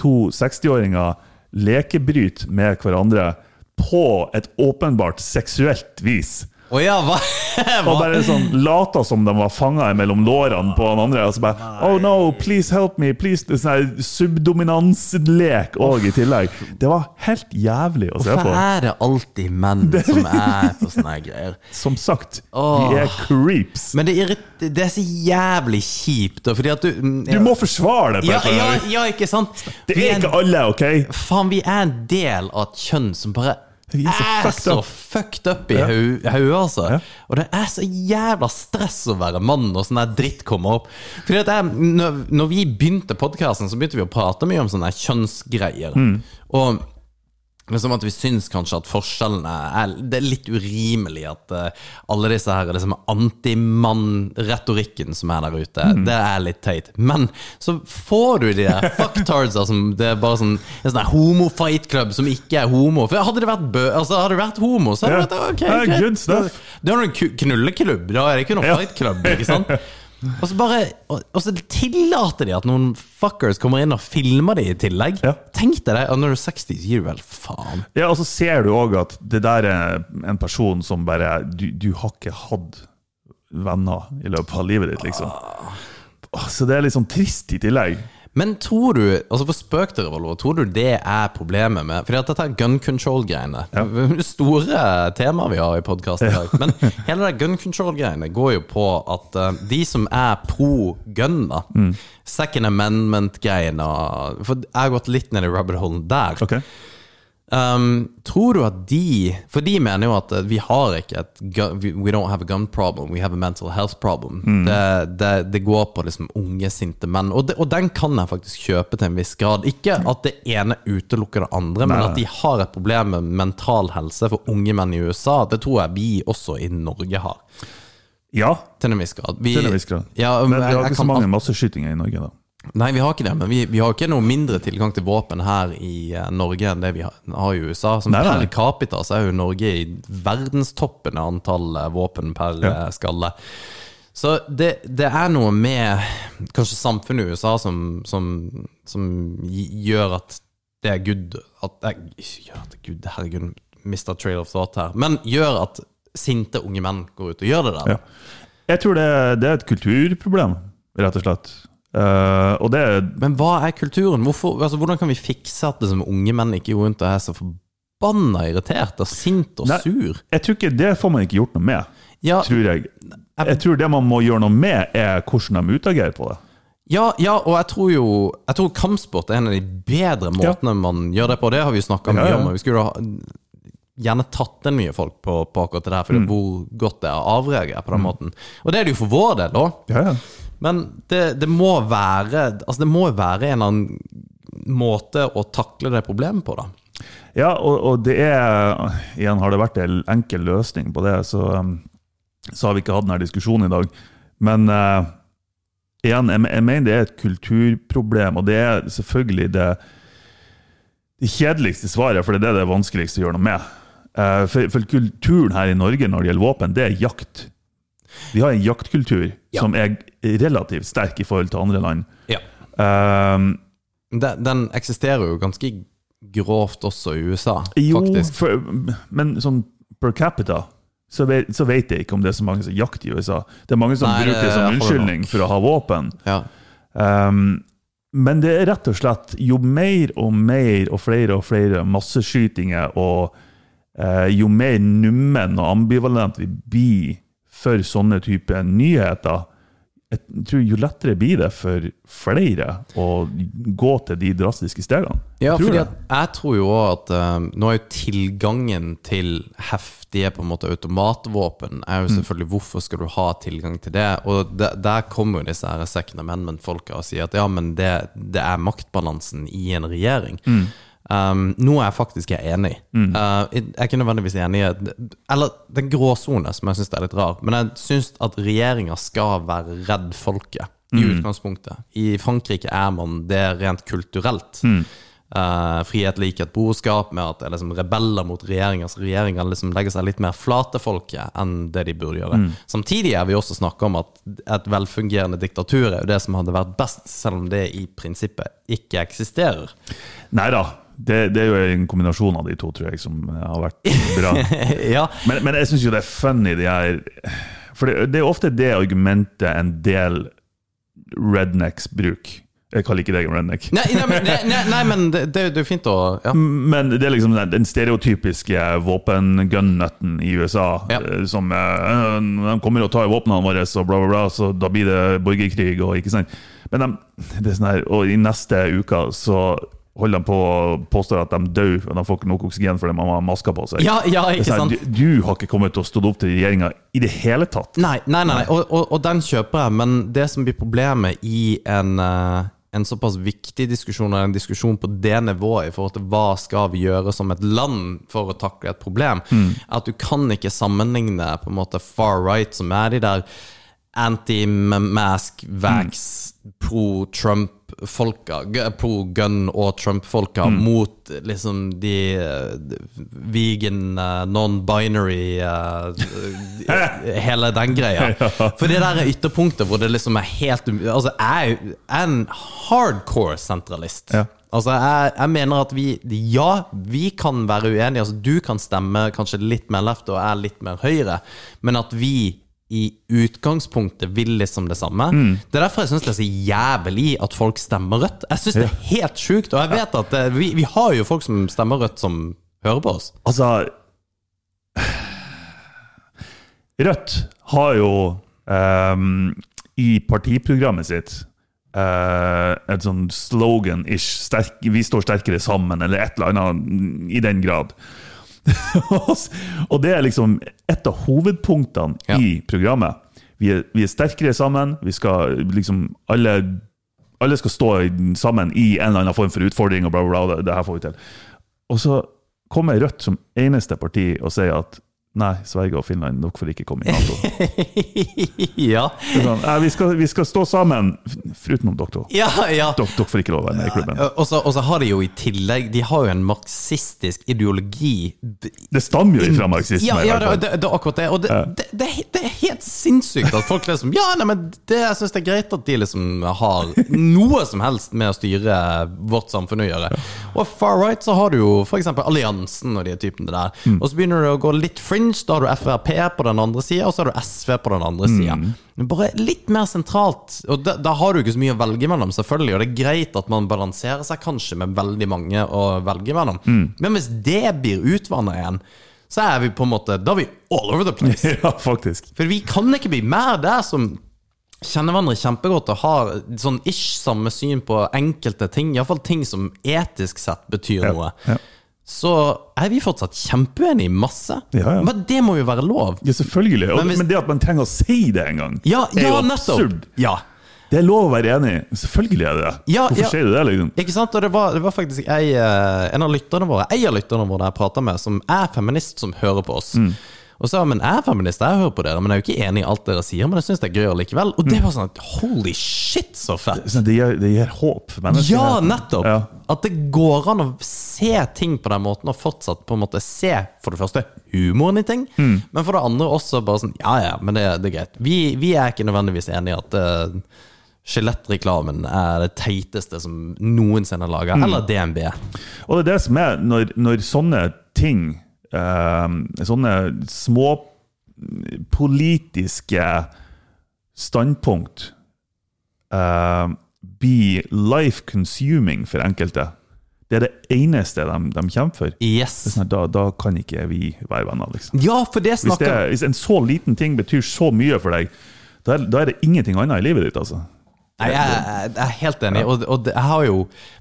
Speaker 7: to 60-åringer lekebryt med hverandre på et åpenbart seksuelt vis.
Speaker 6: Å ja, hva?
Speaker 7: Og bare sånn lata som de var fanga mellom lårene på han andre. Og så bare Oh no, please help me, please Det er Sånn her subdominanslek òg i tillegg. Det var helt jævlig å se
Speaker 6: Hvorfor
Speaker 7: på.
Speaker 6: er det alltid menn som er på sånne her greier?
Speaker 7: Som sagt,
Speaker 6: Åh.
Speaker 7: de er creeps.
Speaker 6: Men det, irrit- det er så jævlig kjipt, da, fordi at du mm,
Speaker 7: Du
Speaker 6: ja.
Speaker 7: må forsvare det. på
Speaker 6: ja,
Speaker 7: et eller
Speaker 6: ja,
Speaker 7: annet vis.
Speaker 6: ja, ikke sant?
Speaker 7: Det
Speaker 6: Vi
Speaker 7: er
Speaker 6: en-
Speaker 7: ikke alle, OK?
Speaker 6: Faen, vi er en del av et kjønn som bare
Speaker 7: Vi er så
Speaker 6: er
Speaker 7: fucked
Speaker 6: så
Speaker 7: up.
Speaker 6: fucked up i hau- hodet, altså. Og det er så jævla stress å være mann når sånn der dritt kommer opp. Fordi at jeg, når, når vi begynte podkasten, så begynte vi å prate mye om sånne her kjønnsgreier.
Speaker 7: Mm.
Speaker 6: Og men som at vi syns kanskje at forskjellene er Det er litt urimelig at eh, alle disse her liksom antimann-retorikken som er der ute,
Speaker 7: Mm.
Speaker 6: det er litt teit. Men så får du de der fucktardsa som det er bare sånn en sånn her homo-fight-klubb som ikke er homo. For hadde det vært, bø altså, hadde det vært homo, så hadde
Speaker 7: Ja.
Speaker 6: det vært ok,
Speaker 7: Ja,
Speaker 6: greit.
Speaker 7: good stuff.
Speaker 6: Da har du en ku- knulleklubb, da er det ikke noen
Speaker 7: Ja.
Speaker 6: fight-klubb, ikke sant? Og så, bare, og, og så tillater de at noen fuckers kommer inn og filmer de i tillegg.
Speaker 7: Ja.
Speaker 6: Tenk deg det, og når du er 60, så gir du vel faen.
Speaker 7: Ja, og så ser du òg at det der er en person som bare Du, du har ikke hatt venner i løpet av livet ditt, liksom. Åh, Så det er litt sånn trist i tillegg.
Speaker 6: Men tror du, altså for spøk til revolver, tror du det er problemet med Fordi at dette er gun control-greiene. Store temaer vi har i podkasten i dag. Men hele det gun control-greiene går jo på at eh, de som er pro gun, da,
Speaker 7: Mm.
Speaker 6: second amendment-greiene For jeg har gått litt ned i rabbit holen der.
Speaker 7: Ok?
Speaker 6: Um, tror du at de For de mener jo at eh, vi har ikke et gun, we- We don't have a gun problem, we have a mental health problem.
Speaker 7: Mm.
Speaker 6: Det, det, det går på liksom unge, sinte menn. Og, det, og den kan jeg faktisk kjøpe til en viss grad. Ikke at det ene utelukker det andre, men at de har et problem med mental helse for unge menn i USA. Det tror jeg vi også i Norge har.
Speaker 7: Ja,
Speaker 6: Til en viss grad. Vi,
Speaker 7: til en viss grad.
Speaker 6: Ja,
Speaker 7: Men vi
Speaker 6: jeg-
Speaker 7: har
Speaker 6: jeg
Speaker 7: ikke
Speaker 6: kan
Speaker 7: så mange masseskytinger i Norge, da.
Speaker 6: Nei, vi har ikke det, men vi, vi har ikke noe mindre tilgang til våpen her i eh, Norge enn det vi har, har i USA. Som
Speaker 7: Nei,
Speaker 6: per
Speaker 7: nei.
Speaker 6: capita så er jo Norge i verdenstoppen av antall eh, våpen per
Speaker 7: Ja.
Speaker 6: eh, skalle. Så det, det er noe med kanskje samfunnet i USA som, som, som gi- gjør at det er good at, eh, Gjør at det er good, herregud, mista trail of thought her. Men gjør at sinte unge menn går ut og gjør det der.
Speaker 7: Ja. Jeg tror det, det er et kulturproblem, rett og slett. Eh, og det er
Speaker 6: Men hva er kulturen? Hvorfor, altså, hvordan kan vi fikse at liksom, unge menn ikke går rundt og er så forbanna irritert og sint og
Speaker 7: Nei.
Speaker 6: sur?
Speaker 7: Jeg tror ikke det får man ikke gjort noe med,
Speaker 6: Ja,
Speaker 7: tror jeg. Jeg tror det man må gjøre noe med, er hvordan de utagerer på det.
Speaker 6: ja, ja, og jeg tror jo Jeg tror kampsport er en av de bedre måtene man gjør det på. Det har vi jo snakka
Speaker 7: Ja,
Speaker 6: mye
Speaker 7: ja.
Speaker 6: om. og Vi skulle ha, gjerne tatt inn mye folk på,
Speaker 7: Mm.
Speaker 6: på akkurat det der, for hvor godt det er å avreagere på den måten. Og det er det jo for vår del òg.
Speaker 7: Ja, ja.
Speaker 6: Men det, det må være Altså det må være en eller annen måte å takle det problemet på, da.
Speaker 7: Ja, og, og det er Igjen har det vært en enkel løsning på det, så, um, så har vi ikke hatt denne diskusjonen i dag. Men eh, igjen, jeg, jeg mener det er et kulturproblem, og det er selvfølgelig det, det kjedeligste svaret, for det er det det er vanskeligst å gjøre noe med. Eh, for, for kulturen her i Norge når det gjelder våpen, det er jakt. Vi har en jaktkultur
Speaker 6: Ja.
Speaker 7: som er relativt sterk i forhold til andre land.
Speaker 6: Ja.
Speaker 7: Eh,
Speaker 6: Den, den eksisterer jo ganske grovt også i USA,
Speaker 7: Jo,
Speaker 6: faktisk.
Speaker 7: for, men sånn per capita så vet, så vet jeg ikke om det er så mange som jakter i USA. Det er mange som
Speaker 6: Nei, det
Speaker 7: bruker det som
Speaker 6: holder nok.
Speaker 7: unnskyldning for å ha våpen.
Speaker 6: Ja.
Speaker 7: Ehm, men det er rett og slett jo mer og mer og flere og flere masseskytinger og eh, jo mer nummen og ambivalent vi blir for sånne typer nyheter, jeg tror jo lettere blir det for flere å gå til de drastiske stegene.
Speaker 6: Ja,
Speaker 7: Jeg tror
Speaker 6: fordi
Speaker 7: det.
Speaker 6: at jeg tror jo også at eh, nå er jo tilgangen til heftige på en måte automatvåpen er jo selvfølgelig Hvorfor skal du ha tilgang til det? Og de, der kommer jo disse her second amendment-folka og sier at ja, men det, det er maktbalansen i en regjering. Um, noe jeg faktisk er enig i. Uh, jeg jeg er ikke nødvendigvis enig i Eller den gråsone, som jeg syns er litt rar. Men jeg syns at regjeringa skal være redd folket, i utgangspunktet. I Frankrike er man det rent kulturelt. Eh, frihet, likhet, boskap, med at det er liksom rebeller mot regjeringer. Så regjeringa liksom legger seg litt mer flat til folket enn det de burde gjøre. Samtidig er vi også snakka om at et velfungerende diktatur er jo det som hadde vært best, selv om det i prinsippet ikke eksisterer.
Speaker 7: Nei da. Det, det er jo en kombinasjon av de to, tror jeg, som har vært bra.
Speaker 6: ja,
Speaker 7: Men, men jeg syns jo det er funny, de her For det, det er ofte det argumentet en del rednecks bruker. Jeg kaller ikke deg en redneck.
Speaker 6: Nei, nei, men, nei, nei, nei, men det, det, er jo- det er jo fint å ja.
Speaker 7: Men det er liksom den, den stereotypiske våpen-gunnutten i USA.
Speaker 6: Ja.
Speaker 7: eh, Som eh, De kommer og tar våpnene våre, og bla, bla, bla, så da blir det borgerkrig. Og, ikke sant? Men de, det er sånn her, og i neste uke så holder de på og påstår at de dør, og de får ikke nok oksygen fordi de har masker på seg.
Speaker 6: Ja, ja, ikke
Speaker 7: Det er sånn,
Speaker 6: sant?
Speaker 7: Du, du har ikke kommet til å stå opp til regjeringa i det hele tatt.
Speaker 6: Nei, nei, nei, nei. Og, og, og den kjøper jeg, men det som blir problemet i en, eh, en såpass viktig diskusjon, eller en diskusjon på det nivået i forhold til hva skal vi gjøre som et land for å takle et problem, er at du kan ikke sammenligne på en måte far right, som er de der anti-mask, vax, pro-Trump-folka, g- pro-gun og Trump-folka, mot liksom de eh, vegan, eh, non-binary eh, Hele den greia. For det der er ytterpunktet hvor det liksom er helt um- Altså, jeg er jo- jeg er en hardcore sentralist.
Speaker 7: Ja.
Speaker 6: Altså, jeg, jeg mener at vi Ja, vi kan være uenige. Altså, du kan stemme kanskje litt mer left og jeg litt mer høyre, men at vi i utgangspunktet vil liksom det samme. Det er derfor jeg syns det er så jævlig at folk stemmer rødt. Jeg syns det er helt sjukt, og jeg vet at det, vi, vi har jo folk som stemmer rødt, som hører på oss.
Speaker 7: Altså Rødt har jo ehm, i partiprogrammet sitt eh, et sånn slogan-ish sterk, 'Vi står sterkere sammen', eller et eller annet i den grad. og det er liksom et av hovedpunktene
Speaker 6: Ja.
Speaker 7: i programmet. Vi er, vi er sterkere sammen. Vi skal liksom alle alle skal stå i- sammen i en eller annen form for utfordring, og bla, bla, bla. Det, det her får vi til. Og så kommer Rødt som eneste parti og sier at nei, Sverige og Finland, dere får ikke komme i Nato. Det
Speaker 6: ja.
Speaker 7: er Sånn, «Nei, vi, skal, vi skal stå sammen, f- utenom dere to.
Speaker 6: Ja, ja.
Speaker 7: Dere, dere får ikke lov å være med i klubben.
Speaker 6: Og så, og så har de jo i tillegg De har jo en marxistisk ideologi.
Speaker 7: Det stammer jo ifra marxisme.
Speaker 6: Ja,
Speaker 7: i
Speaker 6: ja
Speaker 7: hvert
Speaker 6: det,
Speaker 7: fall.
Speaker 6: det, det er akkurat det. Og det, det, det, er he- det er helt sinnssykt at folk liksom Ja, nei, men det, jeg syns det er greit at de liksom har noe som helst med å styre vårt samfunn å gjøre. Og far right så har du jo f.eks. Alliansen og de typene der.
Speaker 7: Mm.
Speaker 6: Og så begynner det å gå litt fringe. Da har du Frp på den andre sida, og så har du SV på den andre sida.
Speaker 7: Mm.
Speaker 6: Bare litt mer sentralt. Og da, da har du ikke så mye å velge mellom, selvfølgelig. Og det er greit at man balanserer seg kanskje med veldig mange å velge mellom.
Speaker 7: Mm.
Speaker 6: Men hvis det blir utvanna igjen, så er vi på en måte Da er vi all over the place.
Speaker 7: Ja, faktisk.
Speaker 6: For vi kan ikke bli mer der som kjenner hverandre kjempegodt og har sånn ish samme syn på enkelte ting, iallfall ting som etisk sett betyr noe.
Speaker 7: ja.
Speaker 6: Så er vi fortsatt kjempeuenige i masse.
Speaker 7: Ja, ja.
Speaker 6: Men det må jo være lov.
Speaker 7: Ja, selvfølgelig. Og,
Speaker 6: Men
Speaker 7: men,
Speaker 6: hvis-
Speaker 7: det at man trenger å si det en gang,
Speaker 6: Ja,
Speaker 7: er
Speaker 6: ja
Speaker 7: jo
Speaker 6: nettopp.
Speaker 7: absurd.
Speaker 6: Ja.
Speaker 7: Det er lov å være enig. Selvfølgelig er det det.
Speaker 6: Ja,
Speaker 7: Hvorfor
Speaker 6: ja.
Speaker 7: sier du det, liksom?
Speaker 6: Eh, Ikke sant? Og det var, det var faktisk ei, eh, en av lytterne våre En av lytterne våre jeg prater med, som er feminist, som hører på oss. Og sa men jeg er feminist, jeg hører på dere, men jeg er jo ikke enig i alt dere sier. Men jeg syns det er gøy likevel. Og det var sånn at holy shit, så fett!
Speaker 7: Sånn, Det gir, det gir håp for mennesker.
Speaker 6: Ja, nettopp!
Speaker 7: Ja.
Speaker 6: At det går an å se ting på den måten, og fortsatt på en måte se, for det første, humoren i ting, men for det andre også bare sånn Ja, ja, men det, det er greit. Vi, vi er ikke nødvendigvis enig i at eh, Skjelettreklamen er det teiteste som noensinne er laga. Eller DNB.
Speaker 7: Og det er det som er når, når sånne ting eh, Sånne små politiske standpunkt eh, blir life-consuming for enkelte. Det er det eneste de, de kjemper for. Det er
Speaker 6: Yes.
Speaker 7: sånn at Da, da kan ikke vi være venner, liksom.
Speaker 6: Ja, for det
Speaker 7: Hvis, det,
Speaker 6: snakker
Speaker 7: hvis en så liten ting betyr så mye for deg, da er, da er det ingenting annet i livet ditt, altså.
Speaker 6: Nei, jeg, jeg, jeg er helt enig. Og, og det, jeg har jo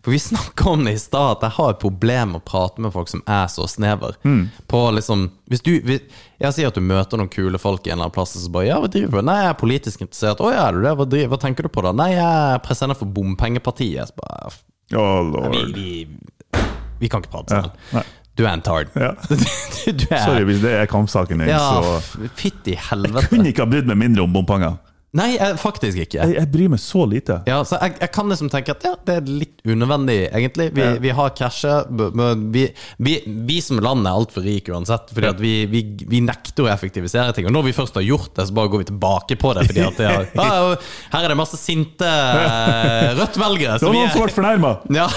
Speaker 6: For vi snakka om det i stad, at jeg har et problem med å prate med folk som er så snever.
Speaker 7: Mm.
Speaker 6: På liksom Hvis du hvis, Jeg sier at du møter noen kule folk i en eller annen plass, og så bare 'Ja, hva driver du på?' 'Nei, jeg er politisk interessert.' 'Å ja, er du det? Hva, driver, hva tenker du på, da?' 'Nei, jeg er president for Bompengepartiet.' Så bare,
Speaker 7: Oh,
Speaker 6: vi,
Speaker 7: lord.
Speaker 6: vi, vi kan ikke prate
Speaker 7: Ja,
Speaker 6: sammen.
Speaker 7: nei.
Speaker 6: Du er en tard.
Speaker 7: Ja.
Speaker 6: Du, du er
Speaker 7: Sorry hvis det er kampsaken din,
Speaker 6: Ja,
Speaker 7: så
Speaker 6: f- fytti
Speaker 7: Jeg
Speaker 6: helvete.
Speaker 7: kunne ikke ha brydd meg mindre om bompenger.
Speaker 6: Nei, jeg, faktisk ikke.
Speaker 7: Jeg, jeg bryr meg så lite.
Speaker 6: Ja, så jeg, jeg kan liksom tenke at ja, det er litt unødvendig, egentlig. Vi,
Speaker 7: Ja.
Speaker 6: vi har krasja, b- men vi, vi, vi som land er altfor rike uansett. Fordi at vi, vi, vi nekter å effektivisere ting. Og når vi først har gjort det, så bare går vi tilbake på det. Fordi at det er, ja, her er det masse sinte eh, Rødt-velgere. så
Speaker 7: Det var
Speaker 6: vi
Speaker 7: noen som
Speaker 6: er-
Speaker 7: ble fornærma!
Speaker 6: Ja,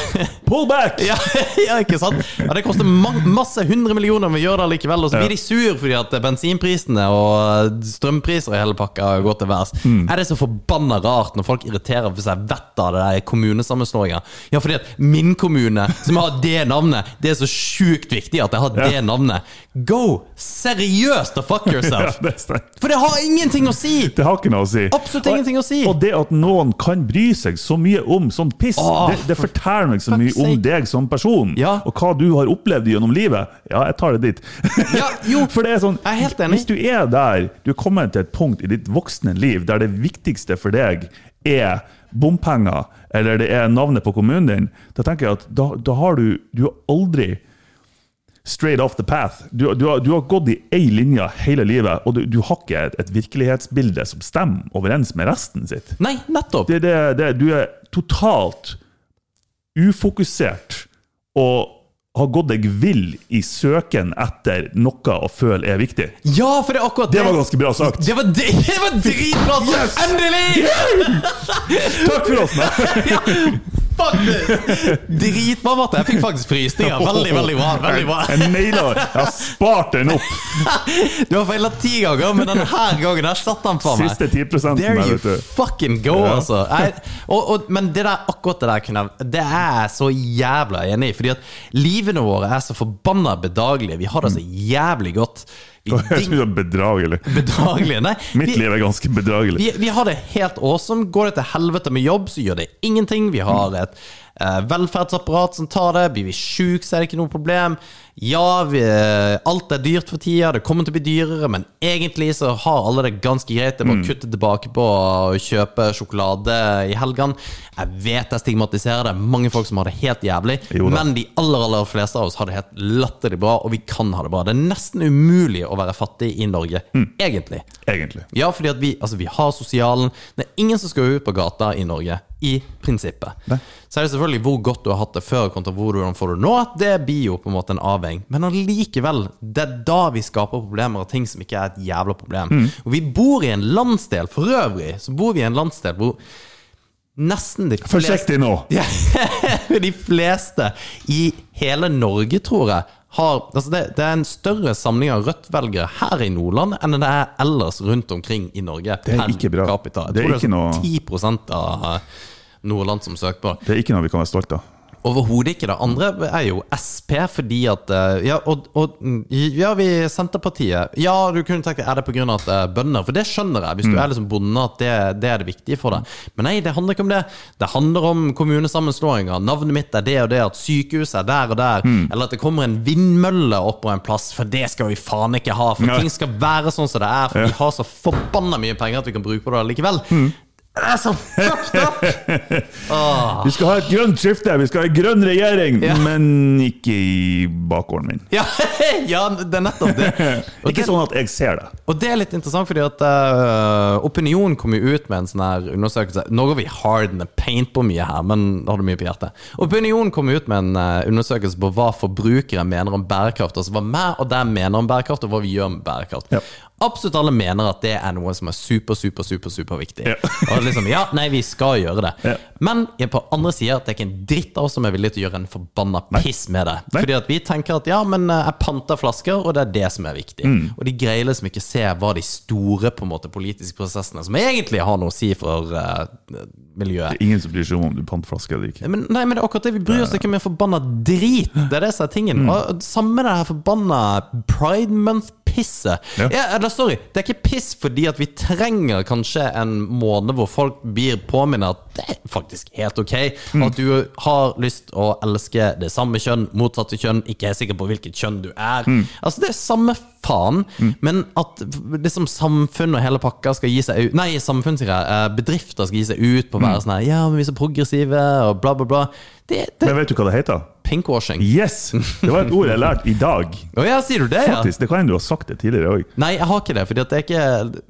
Speaker 7: Pull back!
Speaker 6: ja, ja, ikke sant? Ja, det koster ma masse hundre millioner, men vi gjør det likevel. Og så blir de sur fordi at bensinprisene og eh, strømpriser og hele pakka går til værs.
Speaker 7: Mm.
Speaker 6: Er det så forbanna rart når folk irriterer for seg vettet av det der kommunesammenslåinga? Ja, fordi at min kommune, som har det navnet, det er så sjukt viktig at jeg har det navnet. Go! Seriøst the fuck
Speaker 7: Ja,
Speaker 6: yourself!
Speaker 7: det er sterkt.
Speaker 6: For det har ingenting å si!
Speaker 7: Det har ikke noe å si.
Speaker 6: Absolutt ingenting å si.
Speaker 7: Og det at noen kan bry seg så mye om sånn piss,
Speaker 6: Åh,
Speaker 7: det, det forteller meg så mye
Speaker 6: fuck's
Speaker 7: om
Speaker 6: sake.
Speaker 7: deg som person.
Speaker 6: Ja.
Speaker 7: Og hva du har opplevd gjennom livet. Ja, jeg tar det dit.
Speaker 6: Ja, jo.
Speaker 7: For det er sånn,
Speaker 6: Jeg er helt enig.
Speaker 7: Hvis du er der, du er kommet til et punkt i ditt voksne liv der det viktigste for deg er bompenger, eller det er navnet på kommunen din, da tenker jeg at da, da har du, du har aldri straight off the path. Du, du, har, du har gått i ei linje hele livet, og du, du har ikke et, et virkelighetsbilde som stemmer overens med resten sitt.
Speaker 6: Nei, nettopp!
Speaker 7: Det, det, det, du er totalt ufokusert og har gått deg vill i søken etter noe å føle er viktig.
Speaker 6: Ja, for det er akkurat
Speaker 7: Det var ganske bra sagt.
Speaker 6: Det var, det, det var dritbra! sagt.
Speaker 7: Yes!
Speaker 6: Endelig!
Speaker 7: Takk for oss! Nei.
Speaker 6: Ja, faktisk! Dritbra, Marte. Jeg fikk faktisk frysninger.
Speaker 7: Oh.
Speaker 6: Veldig, veldig bra. veldig bra.
Speaker 7: Jeg, jeg naila det. Jeg har spart den opp.
Speaker 6: Du har feila ti ganger, men denne her gangen der satt han for meg.
Speaker 7: Siste 10
Speaker 6: There
Speaker 7: der,
Speaker 6: you
Speaker 7: vet du.
Speaker 6: fucking go,
Speaker 7: Ja.
Speaker 6: altså. Jeg, og, og, men det der, akkurat det der kunne jeg- Det er jeg så jævla enig i. Fordi at livene våre er så forbanna bedagelige. Vi har det så jævlig godt. Vi
Speaker 7: Jeg synes det
Speaker 6: ding
Speaker 7: er bedragelig.
Speaker 6: bedagelige. Nei,
Speaker 7: Mitt
Speaker 6: vi-
Speaker 7: liv er ganske bedragelig.
Speaker 6: Vi, vi har det helt awesome. Går det til helvete med jobb, så gjør det ingenting. Vi har
Speaker 7: Mm.
Speaker 6: et eh, velferdsapparat som tar det. Blir vi sjuke, så er det ikke noe problem. Ja, vi, eh, alt er dyrt for tida. Det kommer til å bli dyrere, men egentlig så har alle det ganske greit. Det er
Speaker 7: Mm.
Speaker 6: bare å kutte tilbake på å kjøpe sjokolade i helgene. Jeg vet jeg stigmatiserer det. Mange folk som har det helt jævlig.
Speaker 7: Jo da.
Speaker 6: Men de aller, aller fleste av oss har det helt latterlig bra, og vi kan ha det bra. Det er nesten umulig å være fattig i Norge,
Speaker 7: Mm.
Speaker 6: egentlig.
Speaker 7: Egentlig.
Speaker 6: Ja, fordi at vi, altså, vi har sosialen. Det er ingen som skal ut på gata i Norge, i prinsippet. Så er det selvfølgelig hvor godt du har hatt det før kontra hvordan får du nå. Det blir jo på en måte en avveining. Men allikevel, det er da vi skaper problemer av ting som ikke er et jævla problem.
Speaker 7: Mm.
Speaker 6: Og vi bor i en landsdel, for øvrig, så bor vi i en landsdel hvor nesten de fleste
Speaker 7: Forsiktig nå!
Speaker 6: ja, De fleste i hele Norge, tror jeg, har altså det, det er en større samling av Rødt-velgere her i Nordland enn det er ellers rundt omkring i Norge.
Speaker 7: Det er
Speaker 6: per
Speaker 7: ikke bra.
Speaker 6: Capita. Jeg
Speaker 7: Det er
Speaker 6: tror det er
Speaker 7: ikke
Speaker 6: sånn 10 av eh, Nordland som søker på. det.
Speaker 7: Det er ikke noe vi kan være stolte av.
Speaker 6: Overhodet ikke. Det andre er jo SP, fordi at eh, Ja, og, og mm, ja, vi Senterpartiet Ja, du kunne tenke er det pga. at det er bønder, for det skjønner jeg, hvis du er liksom bonde, at det, det er det viktige for deg. Men nei, det handler ikke om det. Det handler om kommunesammenslåinger. Navnet mitt er det og det, at sykehuset er der og der, eller at det kommer en vindmølle opp på en plass, for det skal vi faen ikke ha, for
Speaker 7: Nei.
Speaker 6: ting skal være sånn som det er, for vi har så forbanna mye penger at vi kan bruke på det likevel. Det er så fucked up! Åh.
Speaker 7: Vi skal ha et grønt skifte, vi skal ha en grønn regjering,
Speaker 6: Ah. Ja.
Speaker 7: men ikke i bakgården min.
Speaker 6: Ja, ja, det er nettopp det. Og
Speaker 7: Ikke
Speaker 6: det,
Speaker 7: sånn at jeg ser det.
Speaker 6: og det er litt interessant, fordi at eh, Opinion kom jo ut med en sånn her undersøkelse Nå går vi hard in the paint på mye her, men har du mye på hjertet? Opinion kom ut med en eh, undersøkelse på hva forbrukere mener om bærekraft. Altså hva meg og deg mener om bærekraft, og hva vi gjør med bærekraft.
Speaker 7: Ja.
Speaker 6: Absolutt alle mener at det er noe som er super, super, super, super viktig.
Speaker 7: Ja.
Speaker 6: Og liksom, ja, nei, vi skal gjøre det.
Speaker 7: Ja.
Speaker 6: Men på andre siden, det er ikke en dritt av oss som er villig til å gjøre en forbanna piss med det.
Speaker 7: Nei.
Speaker 6: Fordi at vi tenker at ja, men eh, jeg panter flasker, og det er det som er viktig.
Speaker 7: Mm.
Speaker 6: Og de greier liksom ikke se hva de store på en måte, politiske prosessene som egentlig har noe å si for eh, miljøet.
Speaker 7: Det er ingen som bryr seg om om du pant flaske eller ikke. Mm.
Speaker 6: Men, nei, men det er akkurat det. Vi bryr oss ikke om en forbanna drit. Det er det som er tingen. Og samme med det her forbanna Pride Month-pisset.
Speaker 7: Ja.
Speaker 6: Ja. eller sorry, det er ikke piss fordi at vi trenger kanskje en måned hvor folk blir påminnet at det er faktisk helt ok
Speaker 7: Mm.
Speaker 6: at du har lyst å elske det samme kjønn, motsatte kjønn, ikke er sikker på hvilket kjønn du er.
Speaker 7: Mm.
Speaker 6: Altså, det er samme faen, men at liksom samfunn og hele pakka skal gi seg ut Nei, samfunn, sier jeg. eh, Bedrifter skal gi seg ut på å
Speaker 7: Mm.
Speaker 6: være sånn her Ja, men vi er så progressive, og bla, bla, bla. Det, det er
Speaker 7: Men vet du hva det heter?
Speaker 6: pinkwashing.
Speaker 7: Yes! Det var et ord jeg lærte i dag.
Speaker 6: Å ja, sier du det, ja?
Speaker 7: Faktisk, Det kan hende du har sagt det tidligere òg.
Speaker 6: Nei, jeg har ikke det. Fordi at det er ikke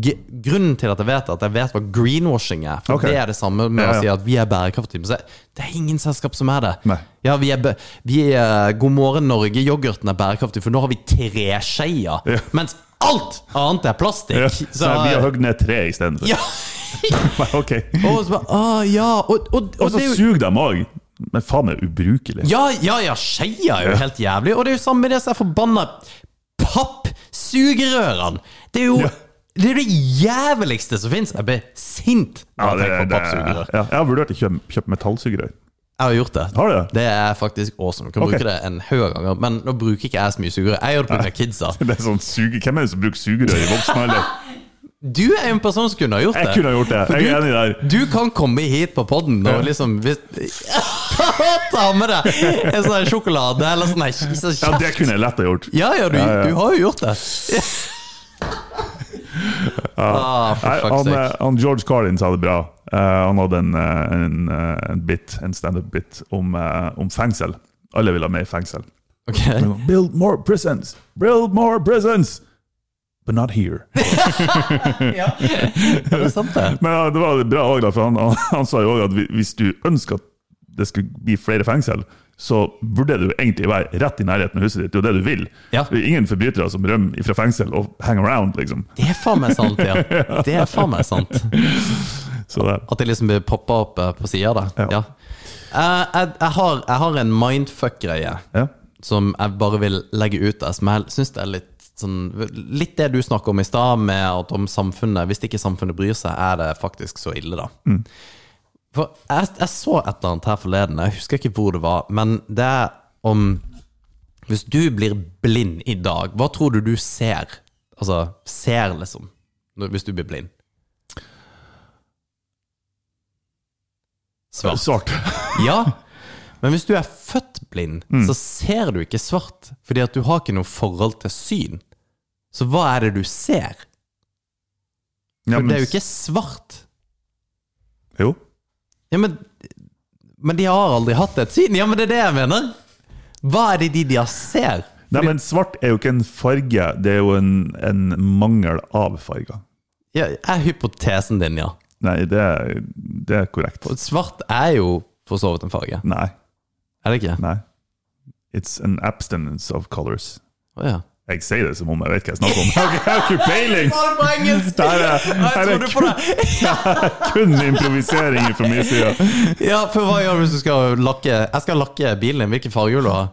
Speaker 6: g Grunnen til at jeg vet det, at jeg vet hva greenwashing er. For
Speaker 7: Ok.
Speaker 6: Det er det samme med
Speaker 7: Ja, ja.
Speaker 6: å si at vi er bærekraftige. Men så er- det er ingen selskap som er det.
Speaker 7: Nei.
Speaker 6: Ja, vi er, bæ- vi er God morgen Norge-yoghurten er bærekraftig, for nå har vi treskeier. Mens alt annet er plastikk.
Speaker 7: Ja. Så vi har hogd ned tre istedenfor.
Speaker 6: ja.
Speaker 7: Ok.
Speaker 6: Og så bare, ah, ja. Og, og, og,
Speaker 7: Og så
Speaker 6: det er jo-
Speaker 7: suger de òg. Men faen, det er ubrukelig.
Speaker 6: Ja, ja, ja, skeia er jo helt jævlig. Og det er jo samme med disse forbanna pappsugerørene. Det er jo
Speaker 7: Ja.
Speaker 6: det, er det jæveligste som fins. Jeg blir sint
Speaker 7: Ja,
Speaker 6: når
Speaker 7: det,
Speaker 6: jeg tenker på
Speaker 7: det, ja.
Speaker 6: pappsugerør.
Speaker 7: Jeg har vurdert å kjøpe, kjøpe metallsugerør.
Speaker 6: Jeg har gjort det.
Speaker 7: Har du det?
Speaker 6: Det er faktisk awesome. Du kan
Speaker 7: Ok.
Speaker 6: bruke det en haug av ganger, men nå bruker ikke jeg så mye sugerør. Jeg gjør det pga. kidsa.
Speaker 7: Det er sånn suge... Hvem er det som bruker sugerør i voksen alder?
Speaker 6: Du er en person som kunne ha gjort det.
Speaker 7: Jeg kunne ha gjort det. Jeg er enig der.
Speaker 6: Du kan komme hit på podden og liksom hvis, Ta med deg en sånn her sjokolade eller sånn her sånn
Speaker 7: Ja,
Speaker 6: kjeft.
Speaker 7: det kunne jeg lett ha gjort.
Speaker 6: Ja, ja, du,
Speaker 7: Ja, ja.
Speaker 6: du har jo gjort det. ah, for
Speaker 7: Nei,
Speaker 6: fuck's
Speaker 7: han, eh,
Speaker 6: sake.
Speaker 7: han George Carlin sa det bra. Eh, han hadde en, eh, en, eh, en bit, en standup-bit om, eh, om fengsel. Alle vil ha mer fengsel.
Speaker 6: Ok.
Speaker 7: Han sa, Build more prisons! Build more prisons! But not here.
Speaker 6: Ja, det er sant, det.
Speaker 7: Men ja, det var bra også, da, for han, han, han sa jo òg at hvi- hvis du ønsker at det skulle bli flere fengsel, så burde du egentlig være rett i nærheten av huset ditt. Det er jo det du vil.
Speaker 6: Ja.
Speaker 7: Det er ingen forbrytere som rømmer fra fengsel og hang around, liksom.
Speaker 6: Det er faen meg sant, ja. Det er faen meg sant.
Speaker 7: Så det,
Speaker 6: At det liksom blir poppa opp eh, på sida, da.
Speaker 7: Ja.
Speaker 6: Ja. Eh, jeg, jeg, har, jeg har en mindfuck-greie
Speaker 7: ja.
Speaker 6: som jeg bare vil legge ut der, som jeg syns er litt Sånn, litt det du snakker om i stad, med at om samfunnet Hvis ikke samfunnet bryr seg, er det faktisk så ille, da. For jeg, jeg så et eller annet her forleden, jeg husker ikke hvor det var, men det er om Hvis du blir blind i dag, hva tror du du ser? Altså ser, liksom, når- hvis du blir blind? Svart.
Speaker 7: Svart. Mm.
Speaker 6: Ja, men hvis du er født blind, så ser du ikke svart, fordi at du har ikke noe forhold til syn. Så hva er det du ser? For
Speaker 7: Ja, men-
Speaker 6: det er jo ikke svart.
Speaker 7: Jo.
Speaker 6: Ja, men, men de har aldri hatt et syn. Ja, men det er det jeg mener. Hva er det de de har ser?
Speaker 7: Nei, men svart er jo ikke en farge, det er jo en, en mangel av farger.
Speaker 6: Ja, er hypotesen din, ja.
Speaker 7: Nei, det er, det er korrekt.
Speaker 6: Og svart er jo for så vidt en farge.
Speaker 7: Nei,
Speaker 6: Er det ikke?
Speaker 7: nei. It's an abstinence of colors.
Speaker 6: Å ja.
Speaker 7: Jeg sier det som om jeg vet hva jeg snakker om. Jeg har ikke peiling!
Speaker 6: Var det på engelsk?
Speaker 7: Her er- her er
Speaker 6: Jeg trodde på det.
Speaker 7: Kun improvisering fra min side.
Speaker 6: Ja, for hva gjør du hvis du skal lakke Jeg skal lakke bilen din. Hvilken farge vil du ha?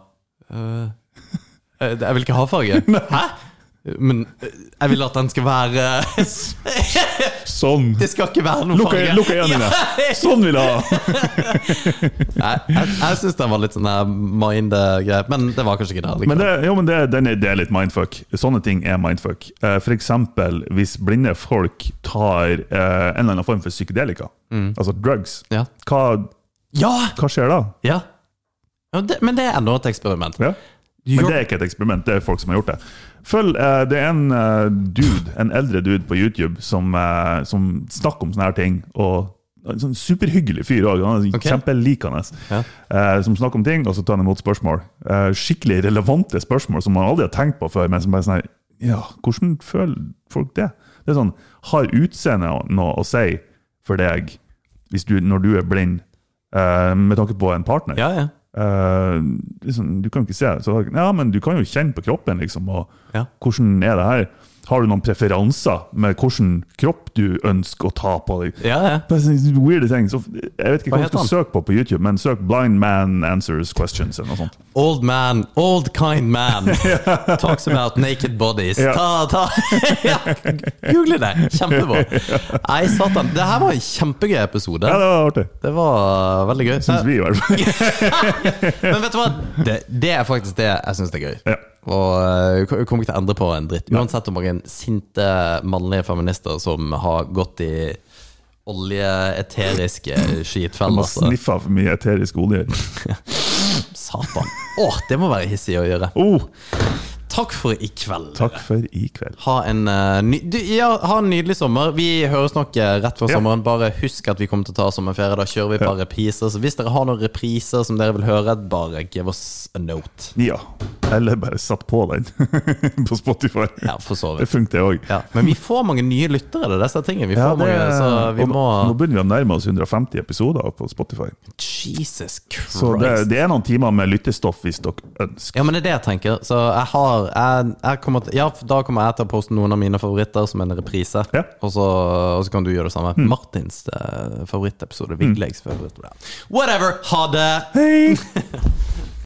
Speaker 6: Eh, jeg vil ikke ha farge. Hæ? Men eh, jeg vil at den skal være
Speaker 7: Sånn.
Speaker 6: Det skal ikke være noen
Speaker 7: Lukk
Speaker 6: farge.
Speaker 7: øy- lukk øynene. Sånn vil jeg ha!
Speaker 6: Jeg, jeg, jeg syns den var litt sånn her mind-greie, men det var kanskje ikke det.
Speaker 7: Men det, jo, men det, den er, det er litt mindfuck. Sånne ting er mindfuck. Eh, for eksempel hvis blinde folk tar eh, en eller annen form for psykedelika, altså drugs,
Speaker 6: Mm. Ja.
Speaker 7: hva,
Speaker 6: Ja!
Speaker 7: hva skjer da?
Speaker 6: ja. ja men, det, men det er enda et eksperiment.
Speaker 7: Ja.
Speaker 6: Gjør-
Speaker 7: Men det er ikke et eksperiment, det er folk som har gjort det. Følg eh, Det er en eh, dude, en eldre dude på YouTube som, eh, som snakker om sånne her ting. Og en sånn superhyggelig fyr òg.
Speaker 6: Ok.
Speaker 7: Kjempelikende.
Speaker 6: Ja.
Speaker 7: Eh, som snakker om ting, og så tar han imot spørsmål. Eh, skikkelig relevante spørsmål som man aldri har tenkt på før. Men som bare sånn her Ja, hvordan føler folk det? Det er sånn Har utseendet noe å si for deg hvis du, når du er blind, eh, med tanke på en partner?
Speaker 6: Ja, ja.
Speaker 7: Eh, liksom, du kan jo ikke se så, Ja, men du kan jo kjenne på kroppen, liksom. Og
Speaker 6: Ja.
Speaker 7: hvordan er det her? Har du noen preferanser med hvilken kropp du ønsker å ta på deg?
Speaker 6: ja, ja.
Speaker 7: Bare sånne Weirde ting. Så, jeg vet ikke
Speaker 6: Hva
Speaker 7: hva,
Speaker 6: heter
Speaker 7: du skal søke på på YouTube, men søk 'Blind man answers questions' eller noe sånt.
Speaker 6: Old man, old kind man talks about naked bodies.
Speaker 7: Ja.
Speaker 6: Ta, ta ja. Google det! Kjempebra. Nei, satan. Det her var en kjempegøy episode.
Speaker 7: Ja, det var artig.
Speaker 6: Det var veldig gøy.
Speaker 7: Syns vi, i hvert fall.
Speaker 6: Men vet du hva? Det, det er faktisk det jeg syns er gøy.
Speaker 7: Ja.
Speaker 6: Og eh, jeg kommer ikke til å endre på en dritt. Uansett hvor mange sinte mannlige feminister som har gått i oljeeteriske altså.
Speaker 7: Man
Speaker 6: skitfeller. så-
Speaker 7: sniffa for mye eterisk olje.
Speaker 6: Satan. Åh, det må være hissig å gjøre.
Speaker 7: Oh,
Speaker 6: Takk for i kveld.
Speaker 7: takk for i kveld.
Speaker 6: Ha en, eh, ny, du, ja, ha en nydelig sommer. Vi høres nok eh, rett før
Speaker 7: Ja.
Speaker 6: sommeren. Bare husk at vi kommer til å ta sommerferie. Da kjører vi et par repriser. Så hvis dere har noen repriser som dere vil høre, bare give us a note.
Speaker 7: Ja. Eller bare satt på den på Spotify.
Speaker 6: Ja, for så
Speaker 7: Det
Speaker 6: vidt.
Speaker 7: funker, det òg.
Speaker 6: Ja. Men vi får mange nye lyttere, det er disse tingene. Vi får
Speaker 7: Ja, det,
Speaker 6: mange, så vi
Speaker 7: og nå-
Speaker 6: må
Speaker 7: Nå begynner vi å nærme oss 150 episoder på Spotify.
Speaker 6: Jesus Christ.
Speaker 7: Så det, det er noen timer med lyttestoff hvis dere ønsker.
Speaker 6: Ja, men det er det jeg tenker. Så jeg har jeg, jeg kommer til, Ja, da kommer jeg til å poste noen av mine favoritter som en reprise.
Speaker 7: Ja. Mm.
Speaker 6: Og, så, og så kan du gjøre det samme. Martins eh, favorittepisode. Viglegs favoritt. Whatever! Ha det!
Speaker 7: Hei!